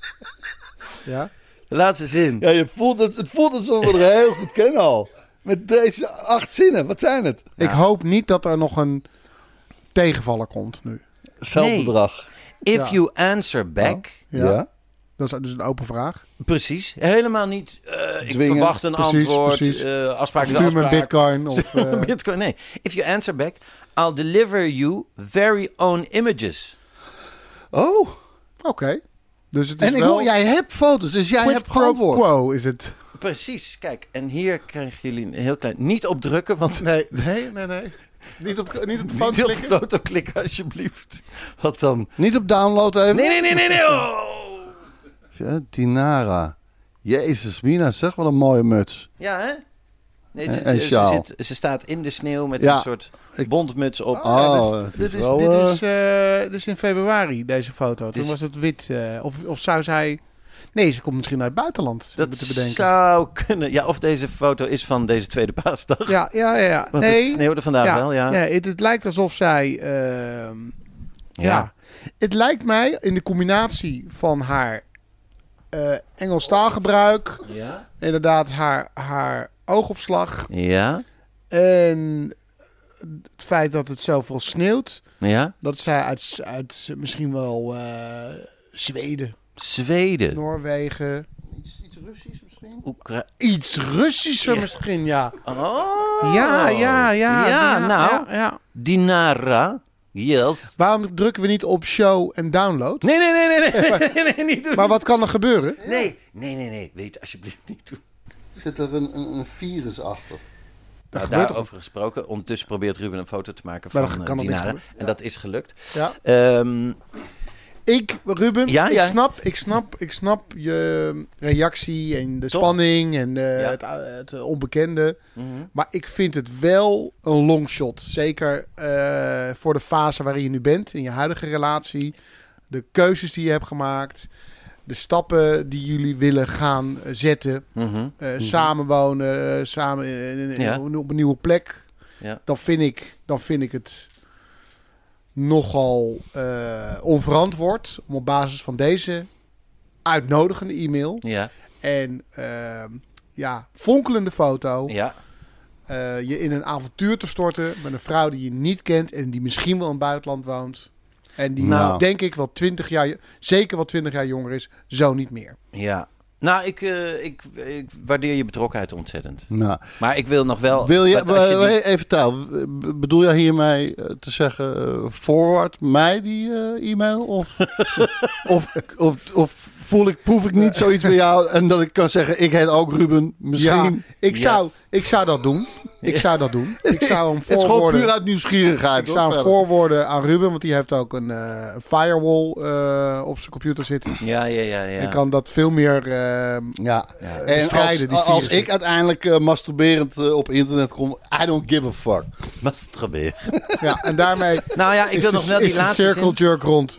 ja. De laatste zin. Ja, je voelt het, het voelt alsof we er heel goed kennen al. Met deze acht zinnen, wat zijn het? Ik hoop niet dat er nog een tegenvaller komt nu. Geldbedrag. If you answer back... Oh. Ja. ja. Dat is dus een open vraag. Precies. Helemaal niet. eh, ik Dwingen. verwacht een Precies, antwoord. precies. eh, afspraak is Stuur me een afspraak. bitcoin. Of, eh, Bitcoin, nee. If you answer back, I'll deliver you very own images. Oh, Oké. Dus het is en ik wel... hoor, jij hebt foto's, dus jij Quid hebt pro geantwoord. quo is het. Precies. Kijk, en hier krijgen jullie een heel klein... Niet op drukken, want... Nee, nee, nee, nee. Niet op, niet op Niet de foto op klikken. foto klikken, alsjeblieft. Wat dan? Niet op download even. Nee, nee, nee, nee, nee. Oh. Ja, Dinara. Jezus, Mina, zeg wel een mooie muts. Ja, hè? Nee, En- en ze, ze, sjaal. zit, ze staat in de sneeuw met Ja. een soort bondmuts op. Oh, Ja, dus- het Dit is, wel, dit, eh, is, eh, dit is in februari, deze foto. Toen Dit is- was het wit. eh, of, of zou zij... Nee, ze komt misschien uit het buitenland. zit ik dat me te bedenken. zou kunnen. Ja, of deze foto is van deze tweede paasdag. Ja, ja, ja. ja. Want nee. het sneeuwde vandaag ja, wel, ja. nee, het, het lijkt alsof zij... ehm, ja. Het lijkt mij in de combinatie van haar eh Engels taalgebruik... Ja. Inderdaad, haar, haar oogopslag... Ja. En het feit dat het zoveel sneeuwt... Ja. Dat zij uit, uit misschien wel eh, Zweden, Zweden. Noorwegen. Iets, iets Russisch misschien? Oekra Iets Russischer misschien, ja. Oh. Ja, ja, ja. Ja, nou. ja, ja. Dinara. Yes. Waarom drukken we niet op show en download? Nee, nee, nee, nee, nee. nee, nee, niet doen. Maar wat kan er gebeuren? Nee, nee, nee, nee. Weet alsjeblieft niet doen. Zit er een, een, een virus achter? Nou, gebeurt daarover gesproken. Ondertussen probeert Ruben een foto te maken Maar van dan kan eh, er niks Dinara. En gebeuren. dat is gelukt. Ja. Ehm, Ik, Ruben, Ja, ik, ja. Snap, ik, snap, ik snap je reactie en de Toch? spanning en eh, Ja. het, het onbekende. Maar ik vind het wel een longshot. Zeker eh, voor de fase waarin je nu bent, in je huidige relatie. De keuzes die je hebt gemaakt. De stappen die jullie willen gaan eh, zetten. mhm. Eh, Samenwonen, eh, samen in- in- in- Ja. op een nieuwe plek. Ja. Dan, vind ik, dan vind ik het nogal eh, onverantwoord om op basis van deze uitnodigende e-mail Ja. en ehm, ja, fonkelende foto Ja. eh, je in een avontuur te storten met een vrouw die je niet kent en die misschien wel in het buitenland woont. En die Nou. denk ik wel 20 jaar, zeker wel 20 jaar jonger is, zo niet meer. Ja. Nou, ik, eh, ik, ik waardeer je betrokkenheid ontzettend. Nou, Maar ik wil nog wel... Oh, wil je, want als je die- eh, even taal, b- bedoel jij hiermee eh, te zeggen, eh, forward mij die eh, e-mail? Of, of, of, of voel ik, proef ik niet zoiets bij jou en dat ik kan zeggen, ik heet ook Ruben, misschien... Ja, ik, zou, ik zou dat doen. Ik zou dat doen. Ik zou hem Het is gewoon puur voorwoorden. uit nieuwsgierigheid. Ik zou hem hoor, voorwoorden aan Ruben, want die heeft ook een eh, een firewall eh, op zijn computer zitten. Ja, ja, ja. ja. En kan dat veel meer. ehm, verder. Ja. En als, bestrijden, die als virussen. ik uiteindelijk eh, masturberend eh, op internet kom, I don't give a fuck. Masturberen. ja, en daarmee. Nou ja, ik is wil de- nog wel is die de laatste circle zin. jerk rond.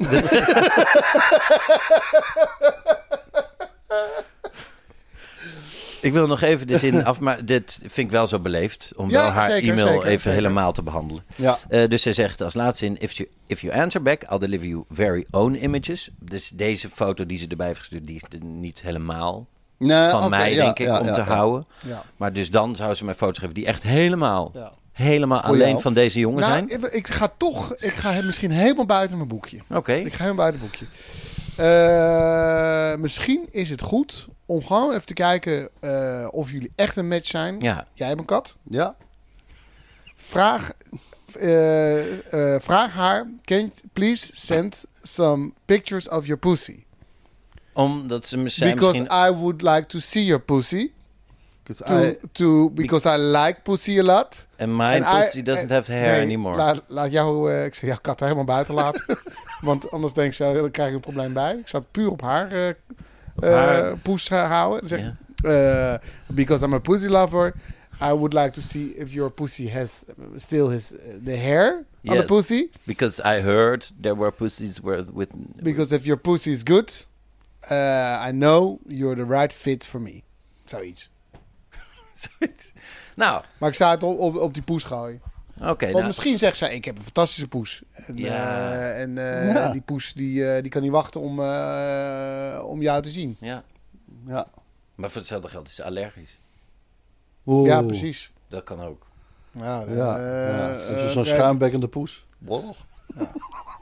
Ik wil nog even de zin af, maar dit vind ik wel zo beleefd. Om Ja, wel haar zeker, e-mail zeker, even zeker. helemaal te behandelen. Ja. Eh, dus zij zegt als laatste zin, if you, if you answer back, I'll deliver you very own images. Dus deze foto die ze erbij heeft gestuurd, die is de- niet helemaal Nee, van oké, mij, ja, denk ik, ja, om ja, te ja. houden. Ja. Maar dus dan zou ze mij foto's geven die echt helemaal, Ja. helemaal Voor alleen jou? van deze jongen Nou, zijn. ik, ik ga toch. Ik ga hem misschien helemaal buiten mijn boekje. Oké, Ik ga helemaal buiten het boekje. Eh, misschien is het goed om gewoon even te kijken eh, of jullie echt een match zijn. ja. Jij hebt een kat. Ja. Vraag, eh, eh, vraag haar, can you please send some pictures of your pussy? Omdat ze me zijn Because misschien... I would like to see your pussy. 'Cause To, I- to, because I like pussy a lot. En mijn And I- pussy doesn't have hair nee, anymore. Laat, laat jou, eh, ik zou jouw kat er helemaal buiten laten. Want anders denk ik zo, dan krijg ik een probleem bij. Ik zou het puur op haar, eh eh, haar- poes eh, houden. Dan Zeg, eh, because I'm a pussy lover. I would like to see if your pussy has still his, the hair on Yes. the pussy. Because I heard there were pussies with... with Because if your pussy is eh, good, uh, I know you're the right fit for me. Zoiets. Zoiets. nou, Maar ik sta het op, op, op die poes gooien. oké. Want nou. misschien zegt zij, ik heb een fantastische poes. En, Ja. eh, en eh, Ja. die poes die, eh, die kan niet wachten om, eh, om jou te zien. Ja. Ja, Maar voor hetzelfde geld is ze allergisch. Oeh. Ja, precies. Dat kan ook. Ja, dan, Ja, eh, Ah, ja. Heb je eh, zo'n krijg- schuimbekkende poes? Wow.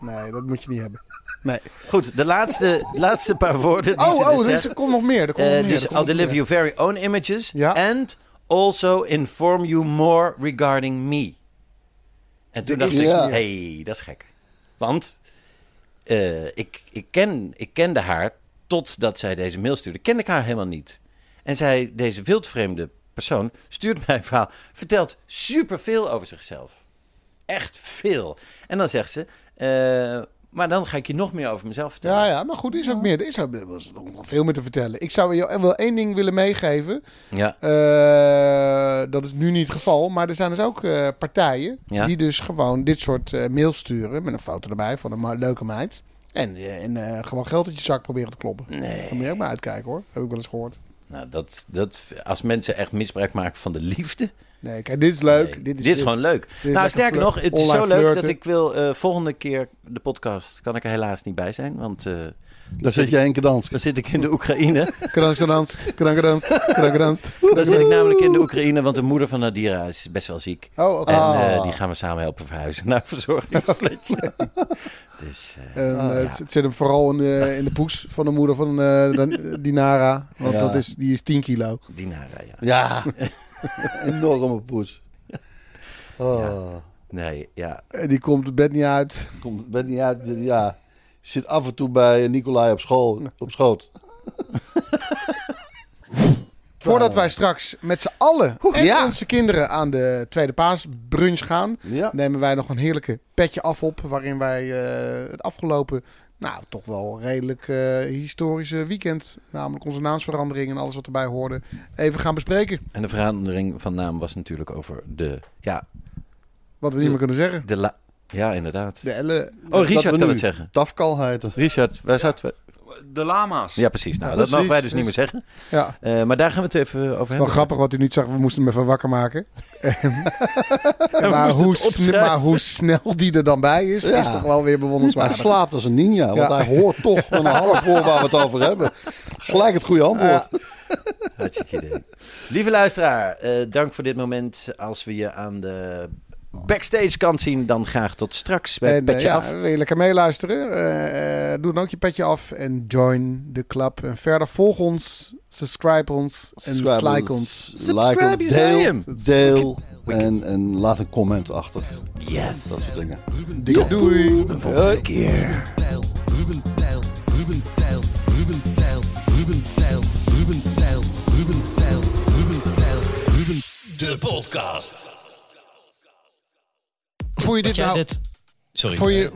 Nee, dat moet je niet hebben. Nee. Goed, de laatste, laatste paar woorden die Oh, ze dus oh, er, is, zeggen. er komt nog meer. Er komt nog Eh, meer, dus er komt I'll nog deliver meer. your very own images Ja. and also inform you more regarding me. En toen dacht is ik, niks meer. hey, dat is gek. Want eh, ik, ik, ken, ik kende haar totdat zij deze mail stuurde. Kende ik haar helemaal niet. En zij, deze wildvreemde persoon, stuurt mij een verhaal. Vertelt superveel over zichzelf. Echt veel. En dan zegt ze, eh, maar dan ga ik je nog meer over mezelf vertellen. Ja, ja, maar goed, er is ook meer. Er is ook, er was ook nog veel meer te vertellen. Ik zou jou wel één ding willen meegeven. ja. Eh, dat is nu niet het geval. Maar er zijn dus ook eh, partijen Ja. die dus gewoon dit soort eh mails sturen. Met een foto erbij van een ma- leuke meid. En, eh, en eh, gewoon geld uit je zak proberen te kloppen. Nee. Dan moet je ook maar uitkijken hoor. Heb ik wel eens gehoord. Nou, dat, dat, als mensen echt misbruik maken van de liefde. Nee, kijk, dit is leuk. nee, dit, is gewoon leuk. nou, lekker sterker flirt- nog, het is online zo leuk dat flirten. ik wil eh, volgende keer de podcast. kan ik er helaas niet bij zijn, want eh, Daar zit je één keer dans. dan zit ik in de Oekraïne. Krankgedanst, krankgedanst, krankgedanst. dan zit ik namelijk in de Oekraïne, want de moeder van Nadira is best wel ziek. Oh, oké. En Ah. eh, die gaan we samen helpen verhuizen naar een verzorgingsflatje. dus, eh, En, eh, het, het zit hem vooral in de, in de poes van de moeder van eh, Dan- Dinara. Want Ja. dat is, die is 10 kilo. Dinara, ja. Ja, enorme poes. Oh, Nee, ja. En Eh, die komt het bed niet uit. komt, ben niet uit, ja. Zit af en toe bij Nicolai op, school, op schoot. Oh, Voordat wij straks met z'n allen en ja. onze kinderen aan de tweede paasbrunch gaan... Ja. nemen wij nog een heerlijke petje af op... waarin wij eh, het afgelopen, nou toch wel redelijk eh, historische weekend... namelijk onze naamsverandering en alles wat erbij hoorde... even gaan bespreken. En de verandering van naam was natuurlijk over de. Ja, Wat we niet meer kunnen zeggen. de la. Ja, inderdaad. De elle... Oh, Richard we kan nu het zeggen. Tafkal heette. Richard, waar zaten we? De lama's. Ja, precies. Nou, Ja, dat mogen wij dus precies. niet meer zeggen. Ja. Eh, maar daar gaan we het even over hebben. Wel grappig wat u niet zag, we moesten hem even wakker maken. moesten maar, hoe het sne- opschrijven. maar hoe snel die er dan bij is, Ja. is toch wel weer Hij bewonderenswaardig. slaapt als een ninja, want Ja. hij hoort toch met een half voor waar we het over hebben. Gelijk het goede antwoord. Hartstikke idee. Lieve luisteraar, eh, dank voor dit moment. Als we je aan de backstage kant zien, dan graag tot straks bij en, eh, Petje ja, Af. wil je lekker meeluisteren? Eh, eh, doe dan ook je petje af en join de club. En verder volg ons, subscribe ons en Subscribe like ons. like Subscribe, je ons, zei hem. deel, deel en, en laat een comment achter. Dat Yes. soort dingen. Doei. Doei. Een volgende keer. Tijl, Ruben Tijl, Ruben Tijl, Ruben Tijl, Ruben Tijl, Ruben Tijl, Ruben Tijl, Ruben Tijl, Ruben. De podcast. Voel je dit Jij nou... dit- Sorry. Voel je...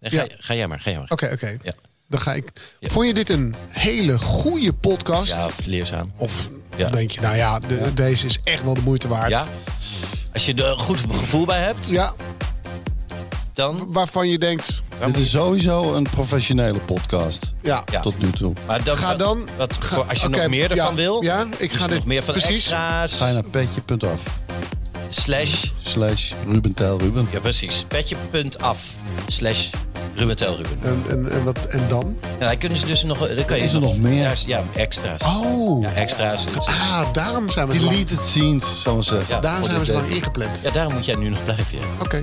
Nee, ga, ja. ga jij maar, ga jij maar. Oké, oké. Ja. Dan ga ik... Ja. Vond je dit een hele goede podcast? Ja, of leerzaam. Of, Ja. of denk je, nou ja, de- deze is echt wel de moeite waard. Ja? Als je er een goed gevoel bij hebt, Ja, dan... waarvan je denkt, Dit is sowieso een professionele podcast. ja, Ja. Tot nu toe. Maar dan, ga dan- Wat, ga- voor- als je oké, nog meer ervan ja, wil, ja, ik dus ga dit- nog meer van de precies. extra's, Ga je naar petje.af slash... slash Ruben Tijl Ruben. Ja, precies. Petje.af slash Ruben Tel Ruben. en, en, en, wat, en dan? En dan kunnen ze dus nog... Dan kan je Is er nog meer? Ja, Ja, extra's. Oh. Ja, extra's. Ah, daarom zijn we zo lang, Deleted scenes, zal ik maar zeggen. Ja. daarom voor zijn we dit zo lang deel. ingepland. Ja, daarom moet jij nu nog blijven, ja. Oké.